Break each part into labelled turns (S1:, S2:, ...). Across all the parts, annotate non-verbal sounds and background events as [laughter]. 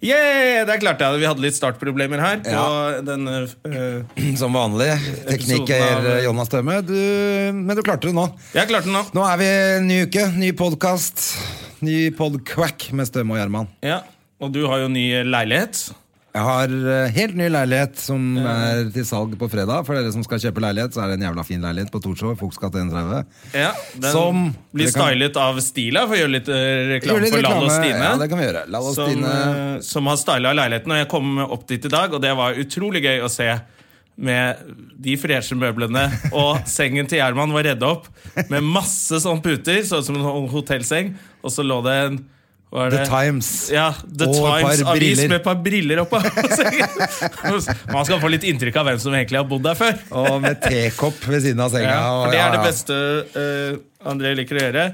S1: Yeah, der klarte jeg det. Vi hadde litt startproblemer her. På
S2: Ja.
S1: denne, øh,
S2: Som vanlig.
S1: Episoden
S2: Tekniker
S1: av-
S2: Jonas Tømme. Du, men du klarte det nå.
S1: jeg klarte den nå.
S2: Nå er vi ny uke, ny podkast. Ny podquack med Stømme og Gjerman.
S1: Ja. Og du har jo ny leilighet.
S2: Jeg har eh, helt ny leilighet som er til salg på fredag. For dere som skal kjøpe leilighet, så er det en jævla fin leilighet på Torshov. Fuksgate 31.
S1: Ja, den
S2: Som-
S1: blir
S2: dere kan-
S1: stylet av Stila, for å gjøre litt øh,
S2: Gjør
S1: reklame
S2: litt
S1: for Lall og
S2: reklame.
S1: Stine.
S2: Ja, det kan vi gjøre. Lall og
S1: som,
S2: Stine.
S1: eh, som har styla leiligheten. Og jeg kom opp dit i dag, og det var utrolig gøy å se. Med de
S2: [laughs]
S1: freshe møblene og sengen til Gjerman var redda opp med masse sånne puter, sånn som en hotellseng, og så lå det en hva er
S2: The
S1: det?
S2: Times.
S1: Ja, The
S2: Og et par
S1: Times-avis
S2: briller.
S1: med et par briller oppå [laughs] sengen. Man skal få litt inntrykk av hvem som egentlig har bodd der før.
S2: Og med tekopp ved siden av senga.
S1: Ja,
S2: og
S1: for det
S2: ja,
S1: er det
S2: ja.
S1: beste eh, André liker å gjøre.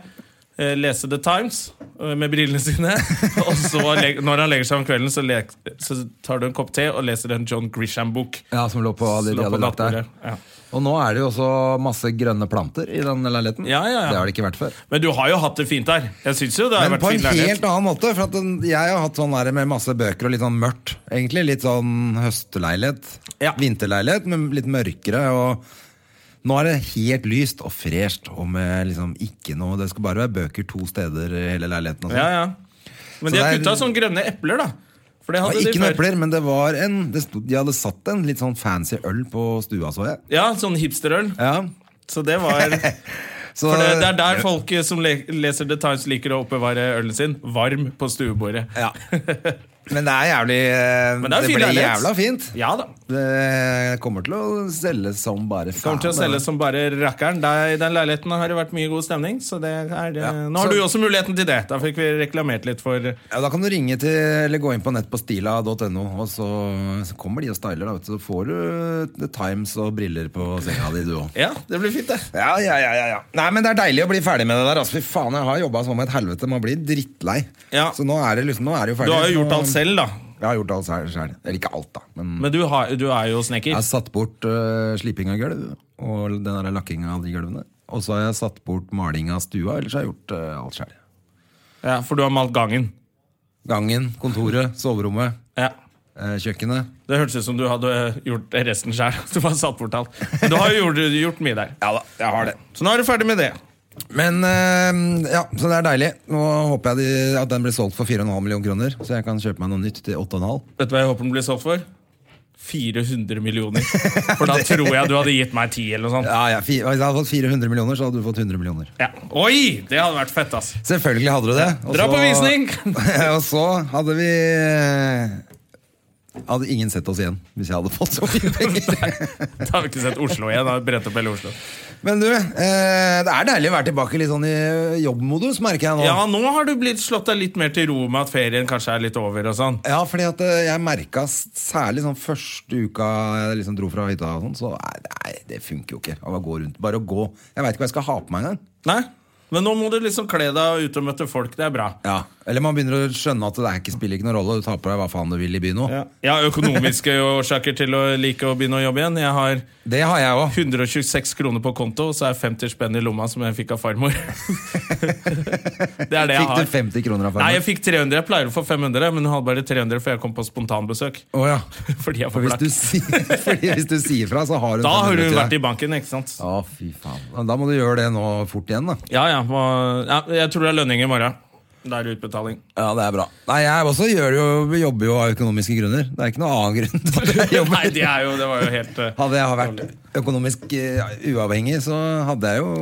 S1: Eh, lese The Times eh, med brillene sine. [laughs] Og så leg- når han legger seg om kvelden, så, le- så tar du en kopp te og leser en John Grisham-bok.
S2: Ja, som lå på, de
S1: Slå på
S2: hadde lagt der.
S1: nattbordet. Ja.
S2: Og nå er det jo også masse grønne planter i den leiligheten.
S1: Ja, ja, ja.
S2: Det har det ikke vært før.
S1: Men du har jo hatt det fint der. Jeg syns jo det har
S2: Men
S1: vært
S2: på en
S1: fin
S2: helt
S1: leilighet.
S2: annen måte. For at den, jeg har hatt sånn der med masse bøker og litt sånn mørkt. Egentlig litt sånn høstleilighet.
S1: Ja.
S2: Vinterleilighet, men litt mørkere. Og nå er det helt lyst og fresht. Og med liksom ikke noe Det skal bare være bøker to steder i hele leiligheten. Og sånn.
S1: Ja, ja. Men de har
S2: det er-
S1: putta sånne grønne epler, da. For det
S2: Det
S1: hadde
S2: var ikke
S1: de
S2: noen
S1: før.
S2: epler, men det var en det stod, De hadde satt en litt sånn fancy øl på stua, så jeg.
S1: Ja, sånn hipsterøl.
S2: Ja.
S1: Så det var
S2: [laughs] Så,
S1: For det, det er der folk eh, som le leser The Times, liker å oppbevare ølen sin. Varm på stuebordet.
S2: Ja. Men det er jævlig eh,
S1: Men det er
S2: Det
S1: jo fin
S2: ble
S1: leilighet.
S2: jævla fint.
S1: Ja da.
S2: Det kommer til å selge som bare faen.
S1: Kommer til å selge som bare rakkeren. Der, I den leiligheten har det vært mye god stemning. Så det er, eh, Nå har
S2: Så-
S1: du også muligheten til det. Da fikk vi reklamert litt for
S2: Ja, da kan du ringe til, eller gå inn på nett på stila.no, og så, så kommer de og styler. Da, vet du, så får du The Times og briller på senga di, du òg.
S1: Ja, det blir fint, det.
S2: Ja, ja, ja, ja, ja. Nei, men Det er deilig å bli ferdig med det der. Altså, fy faen, Jeg har jobba som et helvete. Man blir drittlei.
S1: Ja.
S2: Så nå er det liksom, nå er det jo
S1: Du
S2: ferdig.
S1: har jo
S2: Så-
S1: gjort alt selv, da.
S2: Jeg har gjort alt selv. selv. Eller ikke alt, da. Men
S1: Men du, har, du er jo
S2: jeg
S1: snekker.
S2: har satt bort øh, sliping av gulv og den der lakkinga av de gulvene. Og så har jeg satt bort maling av stua. Ellers har jeg gjort øh, alt sjæl.
S1: Ja, for du har malt gangen.
S2: Gangen, kontoret, soverommet,
S1: Ja.
S2: eh, kjøkkenet.
S1: Det hørtes ut som du hadde eh, gjort resten sjøl. [laughs] Du bare satt bort alt. Men Du har jo gjort, gjort mye der.
S2: Ja da, jeg har det.
S1: Så nå er du ferdig med det.
S2: Men eh, ja, så det er deilig. Nå håper jeg de, at den blir solgt for 4,5 millioner kroner, så jeg kan kjøpe meg noe nytt til 8,5.
S1: Vet du hva jeg håper den blir solgt for? 400
S2: [laughs]
S1: millioner. For da tror jeg du hadde gitt meg 10 eller noe sånt.
S2: Ja, ja, fi, hvis jeg hadde fått 400 millioner, så hadde du fått 100 millioner.
S1: Ja. Oi! Det hadde vært fett, ass.
S2: Selvfølgelig hadde du det. og
S1: Dra
S2: så-
S1: på visning!
S2: [laughs]
S1: [laughs]
S2: og så hadde vi eh, Hadde ingen sett oss igjen hvis jeg hadde fått så mye [laughs] penger.
S1: Da har vi ikke sett Oslo igjen. Da har vi brent opp hele Oslo.
S2: Men du, eh, det er deilig å være tilbake litt sånn i jobbmodus, merker jeg nå.
S1: Ja, nå har du blitt slått deg litt mer til ro med at ferien kanskje er litt over og sånn.
S2: Ja, fordi at eh, jeg merka s- særlig sånn første uka jeg liksom dro fra hytta, og sånn, så nei, nei, det funker jo ikke. Å bare gå rundt, bare å gå. Jeg veit ikke hva jeg skal ha på meg engang.
S1: Nei? Men nå må du liksom kle deg og ut og møte folk. Det er bra.
S2: Ja. Eller man begynner å skjønne at det er ikke, spiller ikke noen rolle. Du tar på deg hva faen du vil i byen nå.
S1: Jeg har økonomiske årsaker til å like å begynne å jobbe igjen. Jeg har
S2: Det har jeg òg.
S1: 126 kroner på konto, og så er 50 spenn i lomma som jeg fikk av farmor. [laughs] det er det jeg
S2: Fikk du
S1: har.
S2: 50 kroner av
S1: Nei, jeg
S2: farmen?
S1: fikk 300. Jeg pleier å få 500, men hun hadde bare 300 for jeg kom på spontanbesøk. [laughs]
S2: Å ja.
S1: Fordi jeg
S2: For hvis,
S1: var
S2: du
S1: blakk.
S2: sier, [laughs] fordi hvis du sier fra, så har hun
S1: Da har hun vært
S2: i
S1: i banken, ikke sant?
S2: Å, fy faen. Da må du gjøre det nå fort igjen, da.
S1: Ja, ja, må, ja. Jeg tror det er lønning i morgen. Da er det
S2: [laughs]
S1: utbetaling. [laughs]
S2: Ja, det er bra. Nei, jeg også gjør jo, jobber jo av økonomiske grunner. Det er ikke noen annen grunn til at jeg jobber.
S1: [laughs] Nei, det, er jo, det var jo helt eh,
S2: Hadde jeg vært økonomisk eh, uavhengig, så hadde jeg jo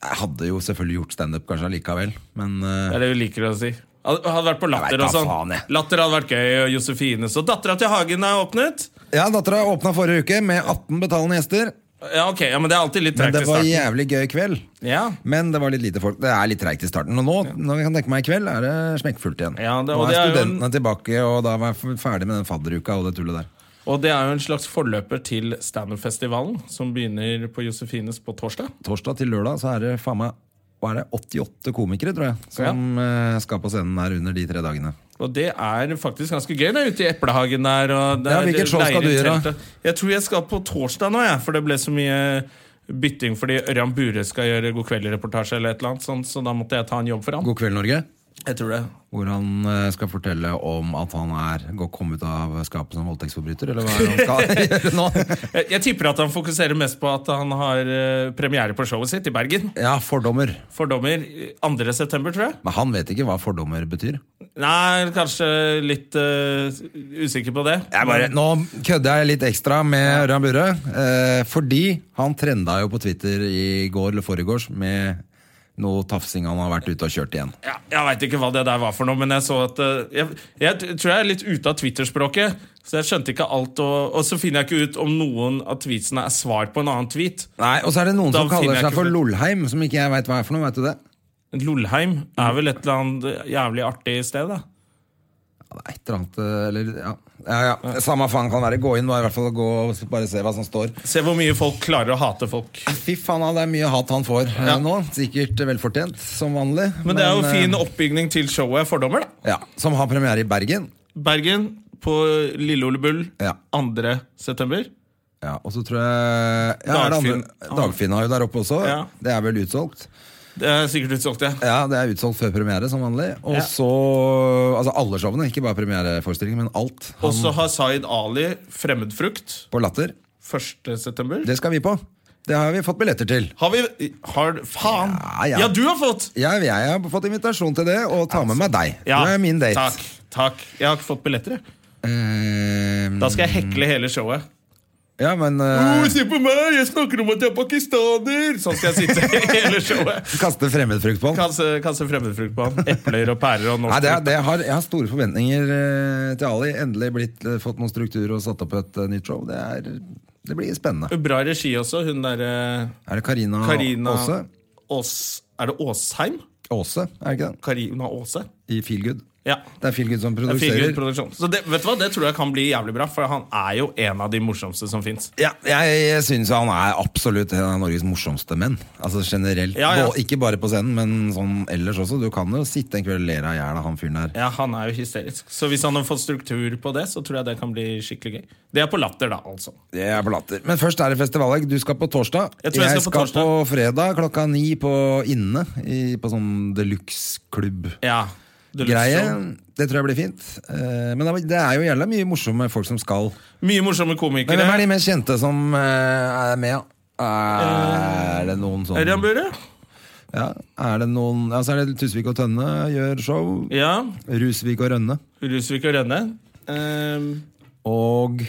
S2: Jeg hadde jo selvfølgelig gjort standup kanskje allikevel, men
S1: Det
S2: eh,
S1: er det vi liker å si. Hadde hadde vært på
S2: Jeg vet
S1: latter og
S2: da
S1: sånn.
S2: faen, jeg.
S1: Latter hadde vært gøy, og Josefine. Så dattera til Hagen er åpnet.
S2: Ja, dattera åpna forrige uke med 18 betalende gjester.
S1: Ja, ok, ja, men det er alltid litt
S2: Men
S1: tregt
S2: det
S1: i
S2: var
S1: starten.
S2: jævlig gøy kveld.
S1: Ja,
S2: Men det var litt lite folk. Det er litt treigt i starten. Og nå nå kan jeg tenke meg i kveld er det smekkfullt igjen.
S1: Ja, det-
S2: nå er
S1: og det er jo
S2: studentene tilbake, og da var jeg f- ferdig med den fadderuka og det tullet der.
S1: Og det er jo en slags forløper til standup-festivalen, som begynner på Josefines på torsdag.
S2: Torsdag til lørdag så er det faen meg hva er det, 88 komikere, tror jeg, som eh, skal på scenen her under de tre dagene.
S1: Og det er faktisk ganske gøy. Det er ute i Eplehagen der. Og det
S2: Ja,
S1: er
S2: hvilket show skal
S1: leir i
S2: du gjøre?
S1: teltet. Jeg tror jeg skal på torsdag nå, jeg. For det ble så mye bytting fordi Ørjan Bure skal gjøre God kveld-reportasje eller et eller annet sånt, så da måtte jeg ta en jobb for ham.
S2: God kveld, Norge.
S1: Jeg tror det.
S2: Hvor han eh, skal fortelle om at han er går- kom ut av skapet som voldtektsforbryter, eller hva er det han [laughs] skal gjøre nå?
S1: Jeg, jeg tipper at han fokuserer mest på at han har eh, premiere på showet sitt i Bergen.
S2: Ja, fordommer.
S1: Fordommer eh, 2. september, tror jeg.
S2: Men han vet ikke hva fordommer betyr.
S1: Nei, kanskje litt eh, usikker på det.
S2: Jeg bare, nå kødder jeg litt ekstra med Ørjan Burre, eh, fordi han trenda jo på Twitter i går eller foregårs med noe tafsing han har vært ute og kjørt igjen.
S1: Ja, jeg veit ikke hva det der var for noe, men jeg så at eh, Jeg, jeg t- tror jeg er litt ute av Twitter-språket, så jeg skjønte ikke alt. Og, og så finner jeg ikke ut om noen av tweetsene er svar på en annen tweet.
S2: Nei, Og så er det noen
S1: Da
S2: som kaller
S1: finner jeg
S2: seg
S1: ikke
S2: for
S1: ut.
S2: Lolheim, som ikke jeg veit hva er for noe. Vet du det?
S1: Lolheim
S2: Mm.
S1: er vel et eller annet jævlig artig sted, da.
S2: Ja, det er et eller annet, eh, eller, ja. Ja, ja. Samme faen kan være. Gå inn, bare, i hvert fall gå og bare se hva som står.
S1: Se hvor mye folk klarer å hate folk.
S2: Fy faen, det er mye hat han får eh,
S1: Ja.
S2: nå. Sikkert velfortjent, som vanlig.
S1: Men det er jo
S2: eh,
S1: fin oppbygning til showet Fordommer, da.
S2: Ja, Som har premiere i Bergen.
S1: Bergen på Lille Ole Bull
S2: Ja.
S1: 2. september.
S2: Ja, og så tror jeg ja, er det
S1: Dagfinn.
S2: andre- Dagfinn har jo der oppe også.
S1: Ja.
S2: Det er vel utsolgt.
S1: Det er sikkert utsolgt, ja.
S2: Ja, det er utsolgt før premiere, som vanlig. Og
S1: Ja.
S2: så Altså alle showene, ikke bare premiereforestillingen, men alt.
S1: Og så har Zaid Ali Fremmedfrukt
S2: På Latter.
S1: 1. september.
S2: Det skal vi på. Det har vi fått billetter til.
S1: Har vi har, Faen!
S2: Ja,
S1: Ja,
S2: ja.
S1: du har fått!
S2: Jeg, jeg har fått invitasjon til det, og tar med meg deg.
S1: Ja,
S2: Du er min date.
S1: Takk, takk. Jeg har ikke fått billetter, jeg.
S2: Eh,
S1: Da skal jeg hekle hele showet.
S2: ja, men eh,
S1: «Åh, se på meg! Jeg snakker om at jeg er pakistaner! Sånn skal
S2: [laughs]
S1: jeg sitte hele showet.
S2: Kaste fremmedfrukt på den.
S1: Kaste, kaste fremmedfrukt på han. Epler og pærer og
S2: Nei,
S1: norsk
S2: det, er-
S1: frukt.
S2: det har, jeg har store forventninger eh, til Ali. Endelig blitt, eh, fått noen struktur og satt opp et eh, nytt show. Det, er, det blir spennende.
S1: Bra regi også. Hun derre
S2: Er det Karina
S1: Karina
S2: Aase?
S1: Ås... Er det Åsheim?
S2: Aase, er det ikke det?
S1: Karina Aase?
S2: I Feel Good.
S1: Ja.
S2: Det er Feel Good som
S1: Det er Feel Good
S2: produserer.
S1: Produksjon. Så det, vet du hva, det tror jeg kan bli jævlig bra, for han er jo en av de morsomste som fins.
S2: Ja, jeg syns han er absolutt en av Norges morsomste menn. Altså generelt.
S1: Ja, ja.
S2: Bå- Ikke bare på scenen, men sånn ellers også. Du kan jo sitte en kveld og lere av hjel av han fyren der.
S1: Ja, han er jo hysterisk. Så hvis han har fått struktur på det, så tror jeg det kan bli skikkelig gøy. Det er på latter, da, altså.
S2: Det er på latter. Men først er det festivaldag. Du skal på torsdag.
S1: Jeg tror jeg skal på torsdag.
S2: på fredag klokka ni på Inne, i, på sånn deluxe-klubb.
S1: Ja, du lyst
S2: Greie.
S1: til å-
S2: Det tror jeg blir fint. Eh, Men det er jo jævla mye morsomme folk som skal.
S1: Mye morsomme
S2: Men hvem er
S1: komikere.
S2: de mest kjente som eh, er med? da? Er det noen sånn
S1: Eh, Ørjan Bure?
S2: Ja, er det noen Ja, så er det Tusvik og Tønne gjør show.
S1: Ja.
S2: Rusvik og Rønne.
S1: Rusvik og Rønne. Ehm,
S2: Og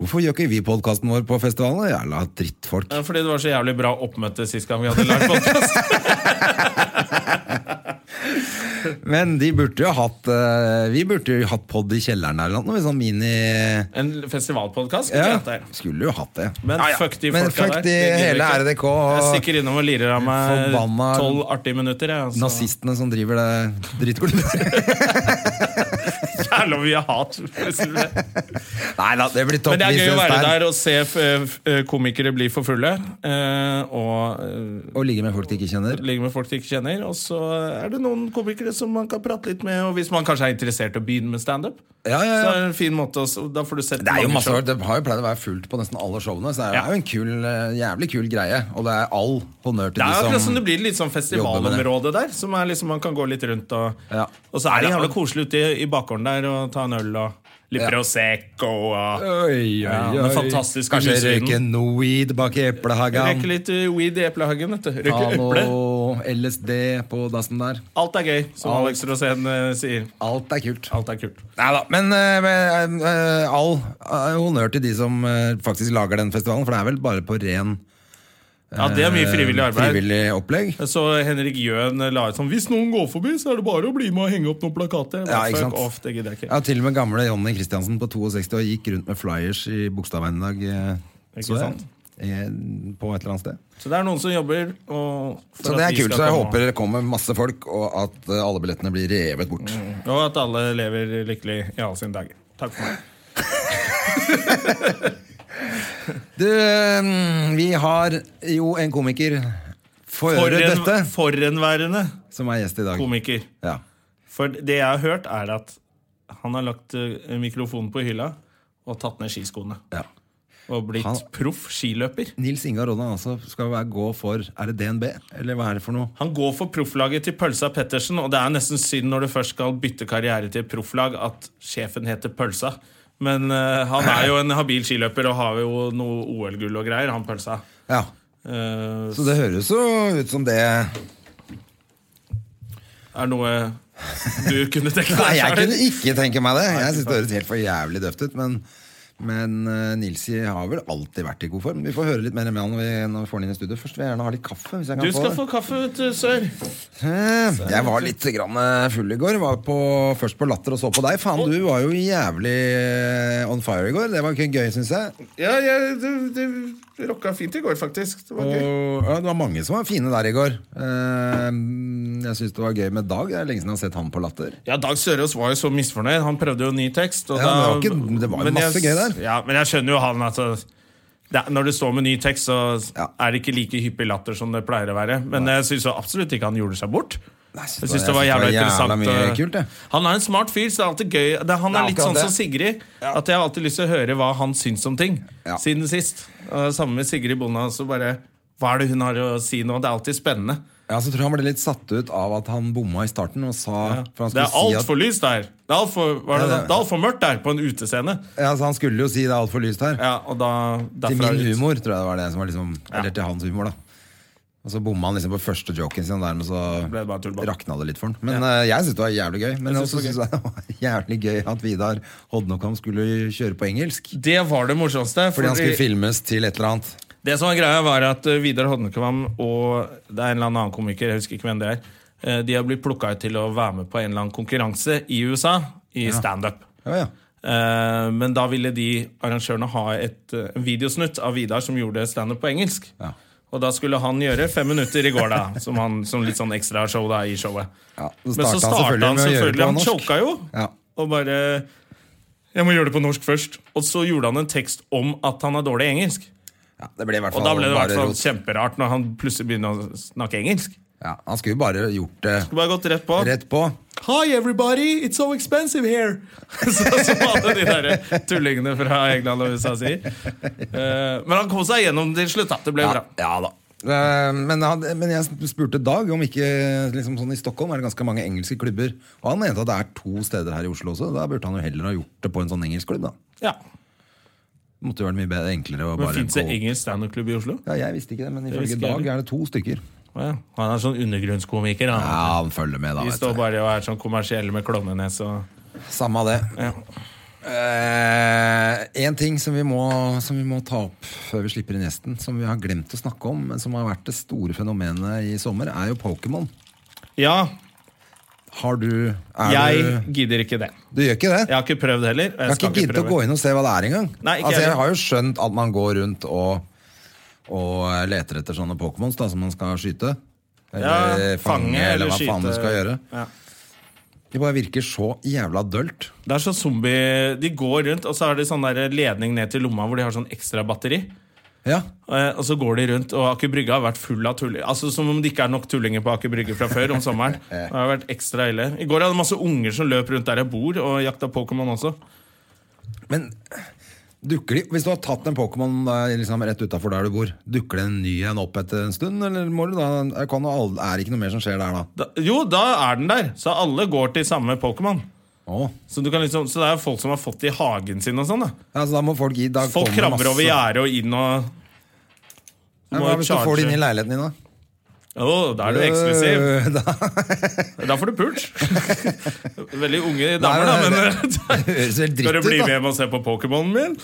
S2: Hvorfor gjør ikke vi podkasten vår på festivalen? Jævla drittfolk.
S1: ja, fordi det var så jævlig bra oppmøte sist gang vi hadde lagd
S2: [laughs]
S1: podkast.
S2: Men de burde jo hatt eh, Vi burde jo hatt pod i kjelleren der eller noe. Sånn mini
S1: En festivalpodkast.
S2: ja,
S1: Ja.
S2: Skulle jo hatt det.
S1: Men fuck de
S2: Men
S1: folka
S2: fuck
S1: der.
S2: de
S1: Det gidder
S2: hele
S1: jeg
S2: RDK
S1: ikke. Jeg
S2: og
S1: stikker innom og lirer av meg
S2: Forbanna-
S1: tolv artige minutter. Jeg, altså. [laughs]
S2: nazistene som driver det drittklubben.
S1: Jævla mye hat.
S2: Nei da, det blir topp.
S1: Men det er
S2: Vi
S1: gøy å
S2: ses
S1: være der og se f f eh, komikere bli for fulle. eh, og eh,
S2: Og ligge med folk de ikke kjenner.
S1: ligge med folk de ikke kjenner. Og så er det noen komikere som man kan prate litt med. Og hvis man kanskje er interessert i å begynne med standup,
S2: Ja, ja,
S1: så
S2: ja.
S1: er det en fin måte å s- Da får du sett
S2: Det er jo
S1: mange
S2: masse
S1: show.
S2: Det har jo pleid å være fullt på nesten alle showene, så det er
S1: Ja.
S2: jo en kul, eh, jævlig kul greie. Og det er liksom all honnør til
S1: Det er
S2: de som
S1: akkurat som det blir litt sånn festivalområde der. Som er liksom Man kan gå litt rundt, og,
S2: Ja.
S1: og så er det jævla koselig ute i, i bakgården der og ta en øl og litt
S2: Ja.
S1: Prosecco og
S2: Oi, oi,
S1: Ja, den
S2: oi.
S1: fantastiske
S2: Kanskje
S1: husvinen.
S2: røyke noe weed bak i eplehagen.
S1: Røyke litt eh, weed i eplehagen. vet du.
S2: Ta
S1: Røyke eple.
S2: noe LSD på dassen der.
S1: Alt er gøy, som
S2: Alt.
S1: Alex Rosén eh, sier.
S2: Alt er kult.
S1: Alt er kult.
S2: Neida, Men eh, men, eh, all eh, honnør til de som eh, faktisk lager den festivalen, for det er vel bare på ren
S1: Ja, det er mye frivillig
S2: eh,
S1: arbeid.
S2: frivillig opplegg.
S1: Jeg så Henrik Jøen la ut sånn Hvis noen går forbi, så er det bare å bli med og henge opp noen plakater. Jeg
S2: Ja,
S1: bare,
S2: ikke
S1: fuck
S2: sant?
S1: off, det gidder jeg ikke.
S2: Ja, til og med gamle Jonny Kristiansen på 62 og gikk rundt med flyers i Bogstadveien i dag. eh,
S1: Ikke
S2: så jeg.
S1: sant?
S2: eh, på et eller annet sted.
S1: Så det er noen som jobber. Og for
S2: Så
S1: at
S2: det er
S1: de
S2: kult. Så
S1: skal
S2: jeg
S1: komme.
S2: håper det kommer masse folk, og at eh, alle billettene blir revet bort.
S1: Og at alle lever lykkelig i alle sine dager. Takk for meg.
S2: Du, eh, vi har jo en komiker for,
S1: Forhen,
S2: dette
S1: forhenværende
S2: som er gjest i dag.
S1: komiker.
S2: Ja.
S1: For det jeg har hørt, er at han har lagt eh, mikrofonen på hylla og tatt ned skiskoene.
S2: Ja.
S1: Og blitt
S2: Han-
S1: proff skiløper.
S2: Nils Ingar Oddan altså skal være, gå for Er det DNB, eller hva er det for noe?
S1: Han går for profflaget til Pølsa Pettersen, og det er nesten synd når du først skal bytte karriere til profflag, at sjefen heter Pølsa. Men eh, han er jo en habil skiløper og har jo noe OL-gull og greier, han Pølsa.
S2: Ja,
S1: Eh,
S2: Så det høres jo ut som det
S1: er noe du kunne tenke deg?
S2: Nei, jeg
S1: selv?
S2: kunne ikke tenke meg det. Jeg syns det høres helt for jævlig døvt ut. Men, men eh, Nilsi har vel alltid vært i god form. Vi får høre litt mer med han når vi, når vi får han inn i studio. Først vil jeg gjerne ha litt kaffe. Hvis jeg kan
S1: Du skal
S2: få
S1: få kaffe, vet du, sør.
S2: det. Jeg var litt grann eh, full i går. Var på, først på Latter og så på deg. Faen, du var jo jævlig eh, on fire i går. Det var ikke gøy, syns jeg.
S1: Ja, du, rocka fint i går, faktisk. Det
S2: Og, ja, det var mange som var fine der i går. Eh, jeg syns det var gøy med Dag. Det er lenge siden jeg har sett han på Latter.
S1: Ja, Dag Sørås var jo så misfornøyd. Han prøvde jo ny tekst. og
S2: Ja, men
S1: da-
S2: det var ikke- det var jo
S1: Men jeg-
S2: masse gøy der.
S1: Ja, Men jeg skjønner jo han at uh, det, er- når du står med ny tekst, så
S2: Ja.
S1: er det ikke like hyppig latter som det pleier å være. Men jeg syns jo absolutt ikke han gjorde seg bort.
S2: Nei, jeg
S1: Jeg
S2: synes
S1: synes det var jævla interessant. eh.
S2: mye
S1: og-
S2: kult, det.
S1: Han er en smart fyr, så det er alltid gøy. Det, han er
S2: Ja,
S1: litt
S2: akkurat
S1: sånn
S2: det.
S1: som Sigrid, at jeg har alltid lyst til å høre hva han syns om ting.
S2: Ja.
S1: Siden sist. Og Sammen med Sigrid Bonde. Så bare, hva er det hun har å si nå? Det er alltid spennende.
S2: Ja, så tror jeg han ble litt satt ut av at han bomma i starten og sa for han
S1: Det er
S2: skulle si at-
S1: altfor lyst der. Det er altfor
S2: Ja, det-
S1: alt mørkt der på en utescene.
S2: Ja, så han skulle jo si det er altfor lyst her.
S1: Ja, og da,
S2: til
S1: derfra
S2: min
S1: ut.
S2: humor, tror jeg det var det som var liksom Eller til hans humor, da. Og så bomma han liksom på første joken sin, og dermed
S1: Ble det bare
S2: så
S1: tullball.
S2: rakna det litt for han. Men eh, jeg syns det var jævlig gøy. Men jeg også synes det var [laughs] jævlig gøy at Vidar Hodnokam skulle kjøre på engelsk.
S1: Det var det morsomste.
S2: Fordi
S1: Fordi
S2: han skulle filmes til et eller annet.
S1: det som var greia, var at eh, Vidar Hodnekvam og det er en eller annen komiker, jeg husker ikke hvem det er, eh, de har blitt plukka ut til å være med på en eller annen konkurranse i USA i standup.
S2: Ja, ja.
S1: Eh, Men da ville de arrangørene ha et eh, en videosnutt av Vidar som gjorde standup på engelsk.
S2: Ja.
S1: Og da skulle han gjøre fem minutter i går, da, som, han, som litt sånn ekstra show da i showet.
S2: Ja, så
S1: Men så
S2: starta han
S1: starta
S2: selvfølgelig
S1: han
S2: med å gjøre det
S1: selvfølgelig
S2: på
S1: Han
S2: norsk.
S1: choka jo,
S2: Ja.
S1: og bare Jeg må gjøre det på norsk først. Og så gjorde han en tekst om at han er dårlig i engelsk.
S2: Ja, det ble i hvert
S1: Og
S2: fall
S1: da ble det i hvert
S2: bare
S1: fall
S2: rot.
S1: kjemperart når han plutselig begynner å snakke engelsk.
S2: Ja, han skulle jo bare gjort det
S1: Du bare gått rett på.
S2: rett på.
S1: Hi everybody, it's so expensive here! [laughs] så, som alle de der tullingene fra England og USA sier. Eh, men han kom seg gjennom til slutt. da. Det ble bra.
S2: Ja, ja da. Eh, Men, han, men jeg spurte Dag om ikke liksom sånn I Stockholm er det ganske mange engelske klubber. Og han mente at det er to steder her i Oslo også. Da burde han jo heller ha gjort det på en sånn engelsk klubb. da
S1: Ja.
S2: Måtte jo vært mye bedre, enklere å
S1: Men
S2: bare
S1: Fins det
S2: gå-
S1: engelsk standup-klubb i Oslo?
S2: Ja, Jeg visste ikke det, men
S1: visste
S2: ifølge
S1: ikke
S2: Dag
S1: heller.
S2: er det to stykker.
S1: Å ja. Han er sånn undergrunnskomiker.
S2: Ja,
S1: Han.
S2: han følger med, da.
S1: De
S2: Vet
S1: står
S2: du.
S1: bare og er sånn kommersielle med klovnenes og
S2: Samme av det.
S1: Ja.
S2: Én Eh, ting som vi, må, som vi må ta opp før vi slipper inn gjesten, som vi har glemt å snakke om, men som har vært det store fenomenet i sommer, er jo Pokémon.
S1: Ja,
S2: Har du er
S1: jeg gidder ikke det.
S2: du, du gjør ikke det?
S1: Jeg har ikke prøvd heller. og
S2: Jeg har
S1: skal
S2: ikke giddet å
S1: prøve.
S2: gå inn og se hva det er engang.
S1: Nei, ikke
S2: Altså,
S1: jeg
S2: jeg
S1: heller.
S2: har jo skjønt at man går rundt og, og leter etter sånne Pokémons da, som man skal skyte. Eller
S1: Ja,
S2: Eh, fange, eller hva faen du
S1: skyte.
S2: skal gjøre.
S1: Ja.
S2: De bare virker så jævla dølt.
S1: Det er sånn zombie De går rundt, og så har de sånn der ledning ned til lomma hvor de har sånn ekstra batteri.
S2: Ja.
S1: Eh, Og så går de rundt, og Aker Brygge har vært full av tullinger. Altså Som om det ikke er nok tullinger på Aker Brygge fra før om sommeren.
S2: [laughs]
S1: Det har vært ekstra ille I går hadde jeg masse unger som løp rundt der jeg bor, og jakta Pokémon også.
S2: Men dukker de, hvis du har tatt en Pokémon eh, liksom, rett utafor der du bor, dukker det en ny en opp etter en stund? Eller må du da, er- kan du ald- er det ikke noe mer som skjer der da?
S1: Da, jo, da er den der! Så alle går til samme Pokémon.
S2: Å.
S1: Så, du kan liksom, så det er jo folk som har fått det i hagen sin og sånn. da
S2: Ja, så da må folk gi da
S1: Folk
S2: kommer
S1: krabber
S2: masse-
S1: over gjerdet og inn og
S2: Ja, men Hva hvis du får det inn i leiligheten din, da?
S1: Å, da er
S2: [laughs]
S1: du eksklusiv.
S2: Øh, da-
S1: Da får du
S2: [laughs]
S1: pult. Veldig unge
S2: Nei,
S1: damer, da,
S2: nei,
S1: men
S2: nei.
S1: [laughs]
S2: Det høres helt dritt
S1: Skal du bli
S2: ut, da.
S1: med hjem og se på Pokémonen
S2: [laughs]
S1: min?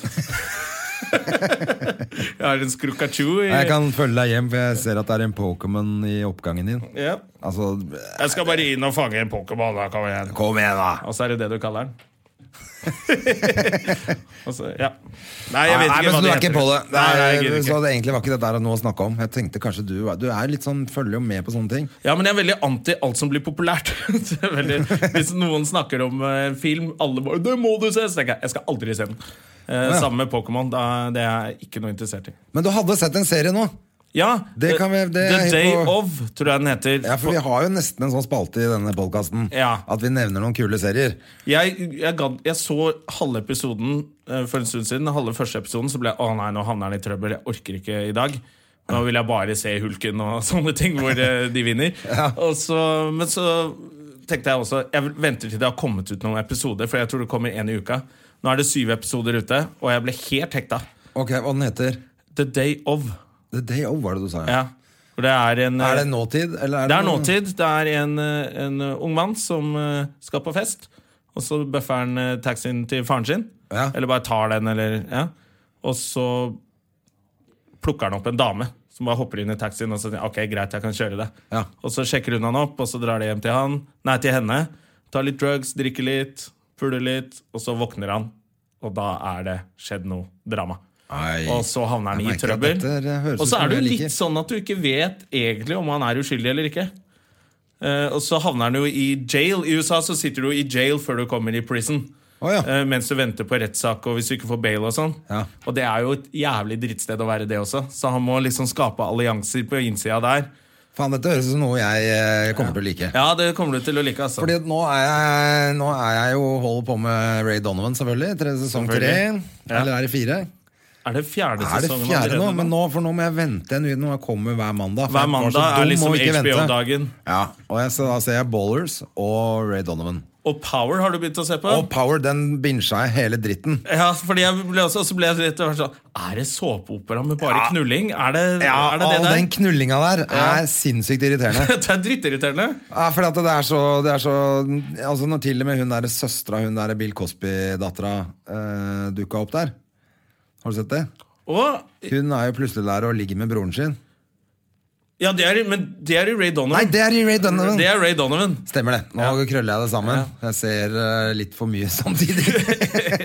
S1: Jeg har en skrukachu i
S2: Jeg kan følge deg hjem, for jeg ser at det er en Pokémon i oppgangen din.
S1: ja.
S2: Altså,
S1: Jeg skal bare inn og fange en Pokémon. da, Kom igjen.
S2: kom igjen, da! [laughs]
S1: Og så er det det du kaller den. [laughs] Altså, ja. Nei,
S2: Nei, men så du er ikke på det. Det,
S1: Nei,
S2: er,
S1: nei, jeg gidder
S2: Så
S1: ikke.
S2: det egentlig var ikke dette her noe å snakke om. Jeg tenkte kanskje Du, du er litt sånn, følger jo med på sånne ting.
S1: Ja, men jeg er veldig anti alt som blir populært. [laughs] Så jeg er veldig, hvis noen snakker om eh, film, alle bare 'Det må du se!' Så tenker jeg jeg skal aldri se den. Eh,
S2: Ja.
S1: Sammen med Pokémon. da- Det er jeg ikke noe interessert i.
S2: Men du hadde sett en serie nå.
S1: Ja,
S2: Det
S1: The-
S2: kan vi- det
S1: The
S2: er
S1: Day
S2: på-
S1: Of, tror jeg den heter.
S2: Ja, for vi har jo nesten en sånn spalte i denne podkasten
S1: Ja.
S2: at vi nevner noen kule serier.
S1: Jeg, jeg, gadd, jeg så halve episoden eh, for en stund siden. Halve første episoden Så ble jeg å nei, nå havner han i trøbbel. Jeg orker ikke i dag. Nå vil jeg bare se Hulken og [laughs] sånne ting hvor eh, de
S2: [laughs]
S1: vinner. Og så, men så tenkte jeg også Jeg venter til det har kommet ut noen episoder, for jeg tror det kommer én i uka. Nå er det syv episoder ute, og jeg ble helt hekta.
S2: Ok, Hva den heter
S1: The Day Of.
S2: The Day Of, var det du sa? ja.
S1: Ja. Hvor det er en
S2: Er det nåtid? Eller er
S1: det er
S2: noe-
S1: nåtid. Det er en, eh, en eh, ung mann som eh, skal på fest. Og så bøffer han eh, taxien til faren sin.
S2: Ja.
S1: Eller bare tar den, eller ja. Og så plukker han opp en dame som bare hopper inn i taxien og så sier ok, greit, jeg kan kjøre det.
S2: Ja.
S1: Og så sjekker hun han opp, og så drar de hjem til han. Nei, til henne. Tar litt drugs, drikker litt, puler litt, og så våkner han. Og da er det skjedd noe drama.
S2: Nei.
S1: Og så havner han
S2: Jeg
S1: i
S2: merker at
S1: trøbbel.
S2: dette, eh, høres
S1: Og
S2: ut
S1: så
S2: som
S1: er det
S2: noe
S1: jo
S2: jeg
S1: litt
S2: liker.
S1: sånn at du ikke vet egentlig om han er uskyldig eller ikke. Eh, og så havner han jo i jail. I USA så sitter du jo i jail før du kommer i prison.
S2: Å, ja.
S1: Eh, mens du venter på rettssak og hvis du ikke får bail og sånn.
S2: Ja.
S1: Og det er jo et jævlig drittsted å være det også. Så han må liksom skape allianser på innsida der.
S2: Faen, dette høres ut som noe jeg eh, kommer til å like.
S1: Ja, det kommer du til å like, altså.
S2: Fordi nå er, jeg, nå er jeg jo holder på med Ray Donovan, selvfølgelig. Tre, sesong tre.
S1: Selvfølgelig. Ja.
S2: Eller er det fire?
S1: er det fjerde
S2: Er det
S1: sesongen
S2: fjerde nå?
S1: allerede
S2: Men nå, for nå må jeg vente en uke. Nå kommer hver mandag. for
S1: Hver
S2: jeg var så
S1: mandag er
S2: dum
S1: liksom
S2: og ikke vente.
S1: HBO-dagen.
S2: Ja, og jeg, så da ser jeg Ballers og Ray Donovan.
S1: Og Power har du begynt å se på?
S2: Og Power, den binsja jeg hele dritten.
S1: Ja, fordi jeg ble også, så ble jeg rett og slett sånn Er det såpeopera med bare knulling? Er det er det,
S2: all
S1: det [laughs]
S2: den
S1: der?
S2: knullinga der er sinnssykt irriterende.
S1: [laughs] det er drittirriterende.
S2: Ja, fordi at det er så, det er så Altså Når til og med hun der søstera, hun der Bill Cosby-dattera, eh, dukka opp der Har du sett det?
S1: Og,
S2: Hun er jo plutselig der og ligger med broren sin.
S1: ja, det er, men det er i Ray Donovan.
S2: Nei, det er i Ray Donovan!
S1: Det er Ray Donovan.
S2: Stemmer det. Nå
S1: Ja.
S2: krøller jeg det sammen. Jeg ser eh, litt for mye [laughs] samtidig.
S1: [laughs]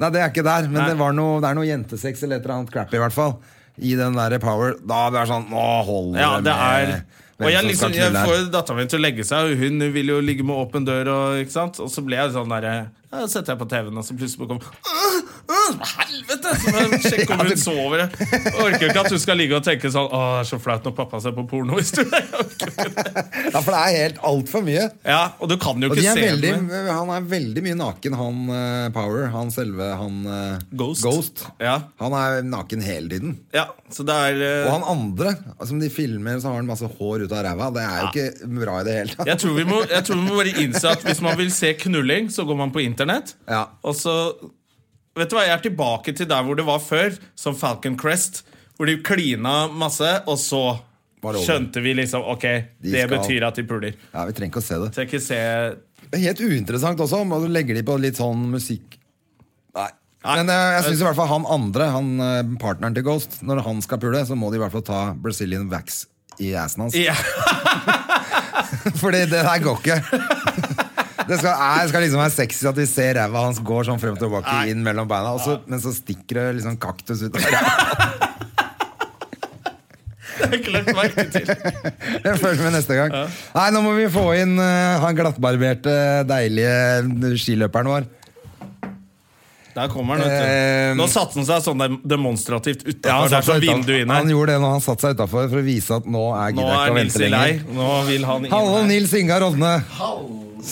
S2: Nei, det er ikke der, men
S1: Nei.
S2: det, var noe, det er noe jentesex eller et eller annet crappy, i hvert fall. I den derre Power. Da det er sånn Nå holder
S1: Ja, det er
S2: hvem
S1: og jeg,
S2: som
S1: liksom,
S2: skal
S1: jeg
S2: knulle her.
S1: får dattera mi til å legge seg, og hun vil jo ligge med åpen dør. Og, ikke sant? og så ble jeg sånn derre ja, Setter jeg på TV-en, og så plutselig bare kommer «Åh, åh, Helvete! Så må jeg
S2: [laughs]
S1: sjekke om hun sover. Jeg orker ikke at hun skal ligge og tenke sånn Å, det er så flaut når pappa ser på porno i stua. Jeg orker ikke.
S2: Ja, for det er helt altfor mye.
S1: Ja, og du kan jo
S2: Og de
S1: ikke
S2: er
S1: se
S2: veldig,
S1: den.
S2: han er veldig mye naken, han eh, Power. Han selve han eh,
S1: Ghost. Ja.
S2: Han er naken hele tiden.
S1: Ja, så det er eh,
S2: Og han andre, som de filmer, så har han masse hår ut av ræva. Det er jo ikke bra i det hele tatt.
S1: jeg tror, vi må, jeg tror vi må bare innse at hvis man vil se knulling, så går man på internett.
S2: Ja.
S1: Og så Vet du hva, jeg er tilbake til der hvor det var før, som Falcon Crest. Hvor de klina masse, og så
S2: Var det over.
S1: skjønte vi liksom Ok,
S2: De
S1: det
S2: skal-
S1: betyr at de puler.
S2: Ja, Vi trenger ikke å se det.
S1: Så jeg ikke se
S2: Det er Helt uinteressant også. Og så legger de på litt sånn musikk Nei.
S1: Nei.
S2: Men eh, jeg syns i hvert fall han andre, han eh, partneren til Ghost, når han skal pule, så må de i hvert fall ta Brazilian Wax i assen hans.
S1: ja. [laughs]
S2: Fordi det der går ikke. Det skal, nei, det skal liksom være sexy at vi ser ræva hans går sånn frem og tilbake inn mellom beina, og så, men så stikker det liksom kaktus ut av [laughs] ræva.
S1: Det har jeg ikke lagt merke til.
S2: [laughs] Jeg følger med neste gang. Nei, nå må vi få inn eh, han glattbarberte, deilige skiløperen vår.
S1: Der kommer han, vet
S2: Eh,
S1: du. Nå satte han seg sånn dem- demonstrativt
S2: Ja,
S1: utafor. der som vinduet inn
S2: han
S1: her.
S2: gjorde det når han satte seg utafor for å vise at nå er
S1: Nå
S2: gidder jeg ikke
S1: er
S2: å
S1: Nils
S2: vente
S1: i lei.
S2: lenger.
S1: Nå vil han inn
S2: Hallo,
S1: her.
S2: Nils Ingar Odne.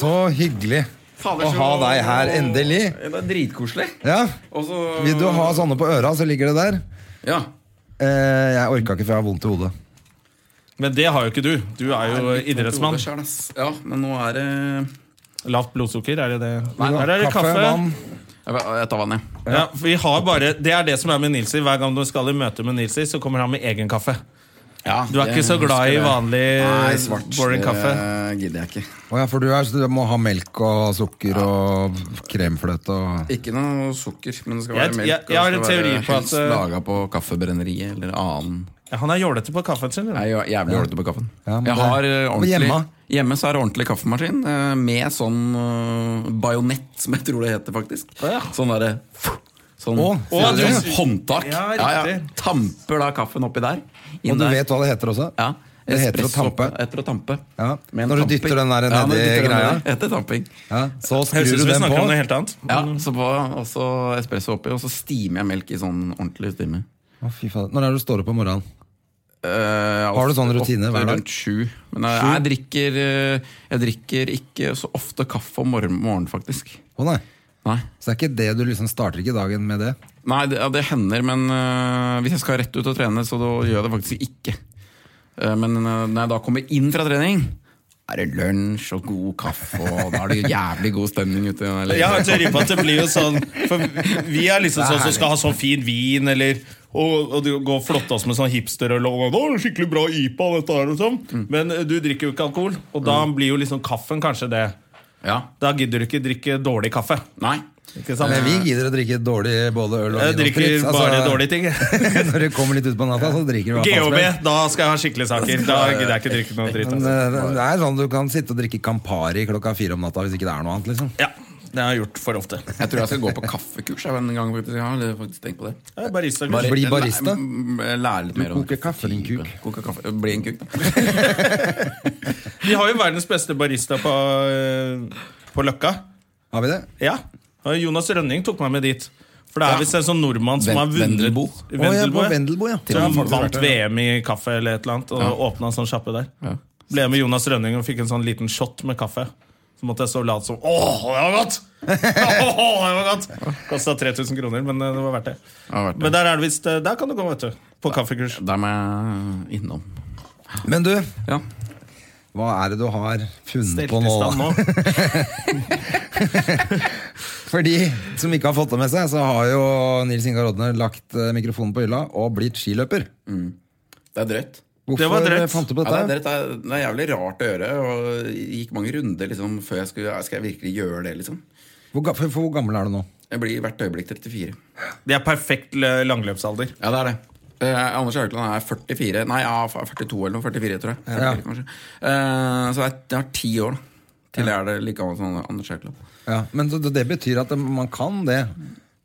S2: Så hyggelig
S1: Fader,
S2: å
S1: så-
S2: ha deg her, endelig.
S1: Det er dritkoselig.
S2: Ja.
S1: Og så-
S2: Vil du ha sånne på øra, så ligger det der.
S1: Ja.
S2: Eh, jeg orka ikke, for jeg har vondt i hodet.
S1: Men det har jo ikke du. Du er jo idrettsmann.
S3: Ja, men nå er det
S1: Lavt blodsukker, er det det?
S2: Vil du ha
S1: Her er det kaffe.
S2: vann?
S3: Jeg jeg tar vann, jeg.
S1: Ja, for vi har bare, det er det som er med Nilsi. Hver gang du skal i møte med Nilsi, så kommer han med egen kaffe.
S3: Ja,
S1: Du er
S3: det
S1: ikke så glad i
S3: husker jeg.
S1: vanlig eh,
S3: Nei, svart,
S1: boring
S2: eh,
S3: det
S1: kaffe.
S3: gidder jeg ikke.
S2: Å ja, for du, er, du må ha melk og sukker og kremfløte og
S3: Ikke noe sukker, men det skal
S1: Jeg-
S3: være melk.
S1: jeg- jeg har en teori på at,
S3: Helst
S1: eh,
S3: laga på kaffebrenneriet eller annen
S1: Ja, han er jålete på kaffen sin. eller?
S3: Jeg er jo jævlig ålrete på kaffen.
S2: Ja, men
S3: jeg
S2: det-
S3: har eh,
S2: men
S3: ordentlig
S2: hjemme?
S3: Hjemme så er det ordentlig kaffemaskin eh, med sånn eh, bajonett, som jeg tror det heter faktisk. Sånn derre Sånn,
S2: Å,
S3: sånn,
S1: du-
S3: sånn håndtak.
S1: Ja, riktig.
S3: Tamper da kaffen oppi der. inn
S2: Og du
S3: der.
S2: vet hva det heter også?
S3: Ja.
S2: Det heter å
S3: Espresso-
S2: tampe.
S3: Etter å tampe.
S2: Ja.
S3: Med en
S2: Når du
S3: tamping.
S2: dytter den der
S3: Ja, når du
S2: nedi
S3: dytter den
S2: greia.
S3: nedi. Etter tamping.
S2: Ja, så
S1: Høres
S2: skrur
S1: ut
S2: du
S1: som vi
S2: den
S1: snakker
S2: på.
S1: om noe helt annet.
S3: Ja, så på, og så espresso oppi, og så stimer jeg melk i sånn ordentlig Eh, stime.
S2: Å, fy faen. Når er det du står opp om morgenen?
S3: Har
S2: du sånn rutine hver dag?
S3: Rundt sju. Men jeg, jeg, drikker, eh, jeg drikker ikke så ofte kaffe om morgen- morgenen, faktisk.
S2: Å nei.
S3: Nei,
S2: Så det er ikke det du liksom starter ikke dagen med det?
S3: Nei det, ja, det hender, men eh, hvis jeg skal rett ut og trene, så da gjør jeg det faktisk ikke. Eh, men eh, når jeg da kommer inn fra trening er det lunsj og god kaffe, og da er det jævlig god stemning ute.
S1: [laughs]
S3: Eller,
S1: Jeg har en teori på at det blir jo sånn For vi er liksom sånn som skal ha sånn fin vin, eller og, og du går og flotter oss med sånn hipsterøl og «Å, det er 'Skikkelig bra IPA', dette her, og sånn. Men eh, du drikker jo ikke alkohol, og da blir jo liksom kaffen kanskje det.
S3: Ja.
S1: Da gidder du ikke drikke dårlig kaffe.
S3: Nei.
S1: Ikke sant?
S2: Men vi gidder å drikke dårlig både øl og
S1: Jeg
S2: vin og
S1: drikker
S2: sprit,
S1: bare dårlige [laughs] ting.
S2: [laughs] Når du kommer litt ut på natta, så drikker du hva faen som
S1: GHB,
S2: helst.
S1: da skal jeg ha skikkelige saker. Da gidder jeg ikke drikke noe dritt.
S2: Men
S1: Altså.
S2: eh, det er sånn du kan sitte og drikke Campari klokka fire om natta hvis ikke det er noe annet. liksom
S1: Ja, det har jeg gjort for ofte.
S3: Jeg tror jeg skal gå på kaffekurs jeg, en gang. faktisk. Jeg har faktisk tenkt på det.
S1: Jeg er barista,
S2: Bare-
S1: kanskje.
S2: Bli barista?
S3: Nei, lære litt mer om
S2: koker kaffe, din kuk.
S3: Koker kaffe. Bli en kuk, da.
S1: Vi har jo verdens beste barista på, eh, på Løkka.
S2: Har vi det?
S1: Ja, og Jonas Rønning tok meg med dit. For det er visst en sånn nordmann som
S3: Ven-
S1: har vunnet
S3: Vendelbo.
S2: Å, ja, på
S1: ja.
S2: Vendelbo, ja.
S1: Så han
S2: Faktisk vært
S1: vant
S2: der, ja.
S1: VM i kaffe eller et eller annet, og åpna en sånn sjappe der. Ble med Jonas Rønning og fikk en sånn liten shot med kaffe. Så måtte jeg så late som Åh, det var godt! Åh, det var godt! Kosta 3000 kroner, men eh, det var verdt det.
S3: var verdt det.
S1: Men der er det visst eh, Der kan du gå, vet du. På kaffekurs.
S3: Der må jeg innom.
S2: Men du,
S3: Ja.
S2: hva er det du har funnet på nå?
S1: Steltestand
S2: da?
S1: nå.
S2: For de som ikke har fått det med seg, så har jo Nils Ingar Odne lagt eh, mikrofonen på hylla og blitt skiløper.
S3: Det er drøyt.
S1: Det var
S2: Hvorfor eh,
S1: drøyt.
S2: fant du på
S3: Ja, det, er
S2: dette?
S3: drøyt. Det er- det er jævlig rart å gjøre. Og jeg gikk mange runder liksom, før jeg skulle ja, Skal jeg virkelig gjøre det, liksom?
S2: Hvor, ga- for, for hvor gammel er du nå?
S3: Jeg blir hvert øyeblikk 34.
S1: Det er perfekt eh, langløpsalder.
S3: Ja, det er det. Eh, Anders Haukeland er 44 Nei, ja, 42 eller noe. 44, tror jeg. 44,
S2: Ja.
S3: kanskje. Eh, så jeg, jeg har ti år da, til jeg er det like gammel som Anders Haukeland.
S2: Ja, men det, det betyr at man kan det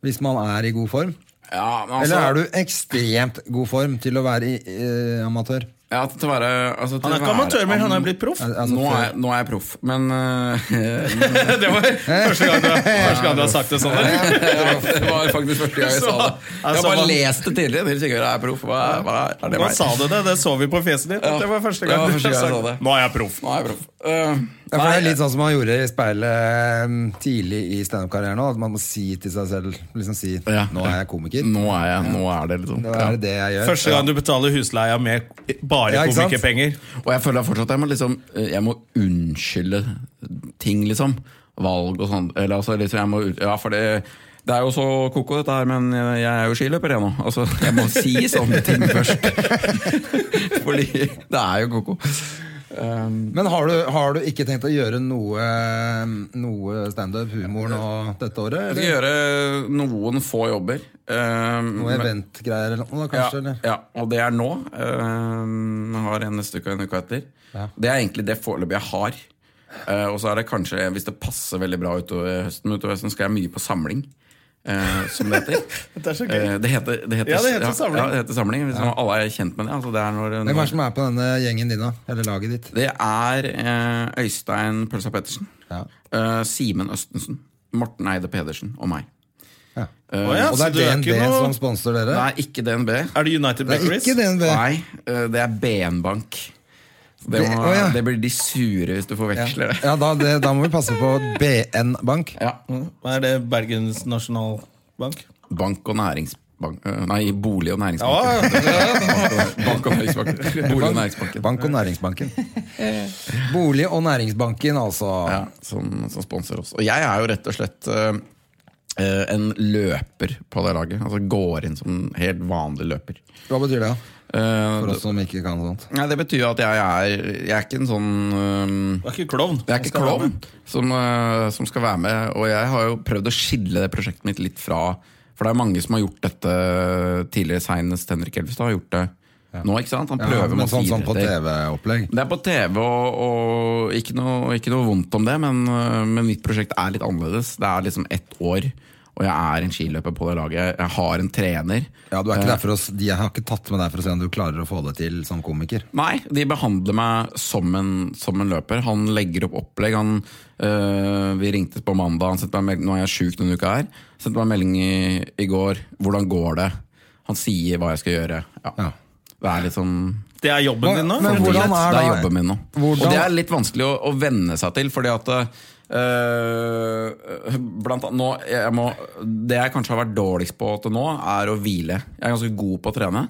S2: hvis man er i god form?
S3: Ja, men altså,
S2: Eller er du ekstremt god form til å være i, eh, amatør?
S3: Ja, til å være, altså, til
S1: Han er
S3: å
S1: ikke
S3: være-
S1: amatør, men han er blitt proff.
S2: Al- altså
S3: nå,
S2: før-
S3: er, nå er jeg proff, men eh, [laughs]
S1: Det var første gang du, første gang du har sagt det sånn. eller?
S3: Det var faktisk første gang jeg sa det. Jeg
S1: Altså,
S3: har bare
S1: man-
S3: lest det tidligere. Nils Sigurd er proff. Hva, hva er, er det
S1: Nå
S3: meg?
S1: sa du det, det så vi på fjeset ditt.
S3: Ja,
S1: at det var første
S3: det
S1: gang,
S3: var
S1: du
S3: første gang jeg
S1: sa
S3: sa det.
S1: Nå er jeg proff.
S3: Nå er jeg proff. Eh,
S2: Ja, for det er
S3: nei,
S2: litt sånn som man gjorde i speilet mm, tidlig i standup-karrieren òg. At man må si til seg selv liksom si,
S3: Ja.
S2: 'Nå er jeg komiker'.
S3: Nå er, jeg, nå er det liksom
S2: Nå er det det jeg gjør.
S1: Første gang du betaler husleia med bare
S2: Ja, ikke sant?
S1: komikerpenger.
S3: Og jeg føler fortsatt at jeg må, liksom, eh, jeg må unnskylde ting, liksom. Valg og sånn. Eller altså, liksom, jeg må ut- Ja, for det det er jo så koko, dette her, men jeg er jo skiløper, jeg nå. Altså, jeg må si sånne ting først. [laughs] Fordi det er jo koko. Um,
S2: Men har du, har du ikke tenkt å gjøre noe, noe standup, humor, nå dette året?
S3: jeg skal
S2: Eller?
S3: gjøre noen få jobber. Um,
S2: Noe
S3: men-
S2: eventgreier eller noe, da, kanskje?
S3: ja,
S2: Eller?
S3: ja, og det er nå. Uh, har en neste uke og en uke etter. Det er egentlig det foreløpig jeg har. Eh, og så er det kanskje, hvis det passer veldig bra utover høsten, utover høsten skal jeg mye på samling. eh, som det heter.
S1: Dette er så gøy.
S3: Eh, det heter, det heter,
S1: Ja, det heter samling.
S3: Ja, det heter samling hvis Alle er kjent med det. Altså, det er når,
S2: Hvem er det
S3: når,
S2: som er på denne gjengen din, da? Eller laget ditt?
S3: det er eh, Øystein Pølsa Pettersen,
S2: Ja.
S3: eh, Simen Østensen, Morten Eide Pedersen og meg.
S2: Ja.
S3: Eh,
S1: Å ja,
S2: Og det
S1: så
S2: er
S1: du er
S2: DNB
S1: ikke noe-
S2: som sponser dere?
S3: Det er ikke DNB.
S1: Er det United
S2: det er
S1: Bakeries?
S2: ikke DNB.
S3: Nei, eh, det er BN-bank. Så Det,
S2: Det-
S3: må,
S2: å, ja.
S3: det blir de sure hvis du forveksler det.
S2: Ja, da, det, da må vi passe på BN Bank.
S3: Ja.
S1: Hva er det Bergens Nasjonalbank?
S3: Bank og næringsbank eh, Nei, bolig og næringsbank.
S1: Ja,
S3: [laughs] Bank og næringsbank. Bolig og næringsbanken.
S2: Bank og Næringsbanken. Bolig- og Næringsbanken, altså.
S3: Ja, som, som sponser oss. Og jeg er jo rett og slett eh, eh, en løper på det laget. Altså går inn som en helt vanlig løper.
S2: Hva betyr det? da?
S3: Eh,
S2: For oss som ikke kan sånt.
S3: nei, det betyr at jeg er Jeg er ikke en sånn eh,
S1: du er ikke klovn.
S3: Det er ikke
S1: Skal være
S3: klovn
S1: med.
S3: som, eh, som skal være med, og jeg har jo prøvd å skille det prosjektet mitt litt fra For det er mange som har gjort dette tidligere, senest Henrik Elvestad har gjort det nå, ikke sant? Han
S2: Ja,
S3: prøver
S2: men
S3: med å
S2: sånn,
S3: si
S2: sånn på
S3: det.
S2: TV-opplegg.
S3: Det er på TV, og, og ikke, noe, ikke noe vondt om det, men, øh, men mitt prosjekt er litt annerledes. Det er liksom ett år, og jeg er en skiløper på det laget. Jeg har en trener.
S2: Ja, du er ikke der for å, s- de har ikke tatt med deg for å se om du klarer å få det til som komiker.
S3: Nei, de behandler meg som en, som en løper. Han legger opp opplegg. Han, øh, vi ringtes på mandag, han sendte meg en melding, nå er jeg sjuk denne uka her. Sendte meg en melding i, i går. Hvordan går det? Han sier hva jeg skal gjøre. Ja.
S2: Ja.
S3: Det er litt sånn
S1: Det er jobben din nå?
S2: Men
S1: rett og
S2: hvordan
S1: slett.
S2: er
S3: det er
S2: da-
S3: jobben min nå.
S2: Hvordan-
S3: Og det er litt vanskelig å, å venne seg til, fordi at øh, blant annet, nå, jeg må, Det jeg kanskje har vært dårligst på til nå, er å hvile. Jeg er ganske god på å trene.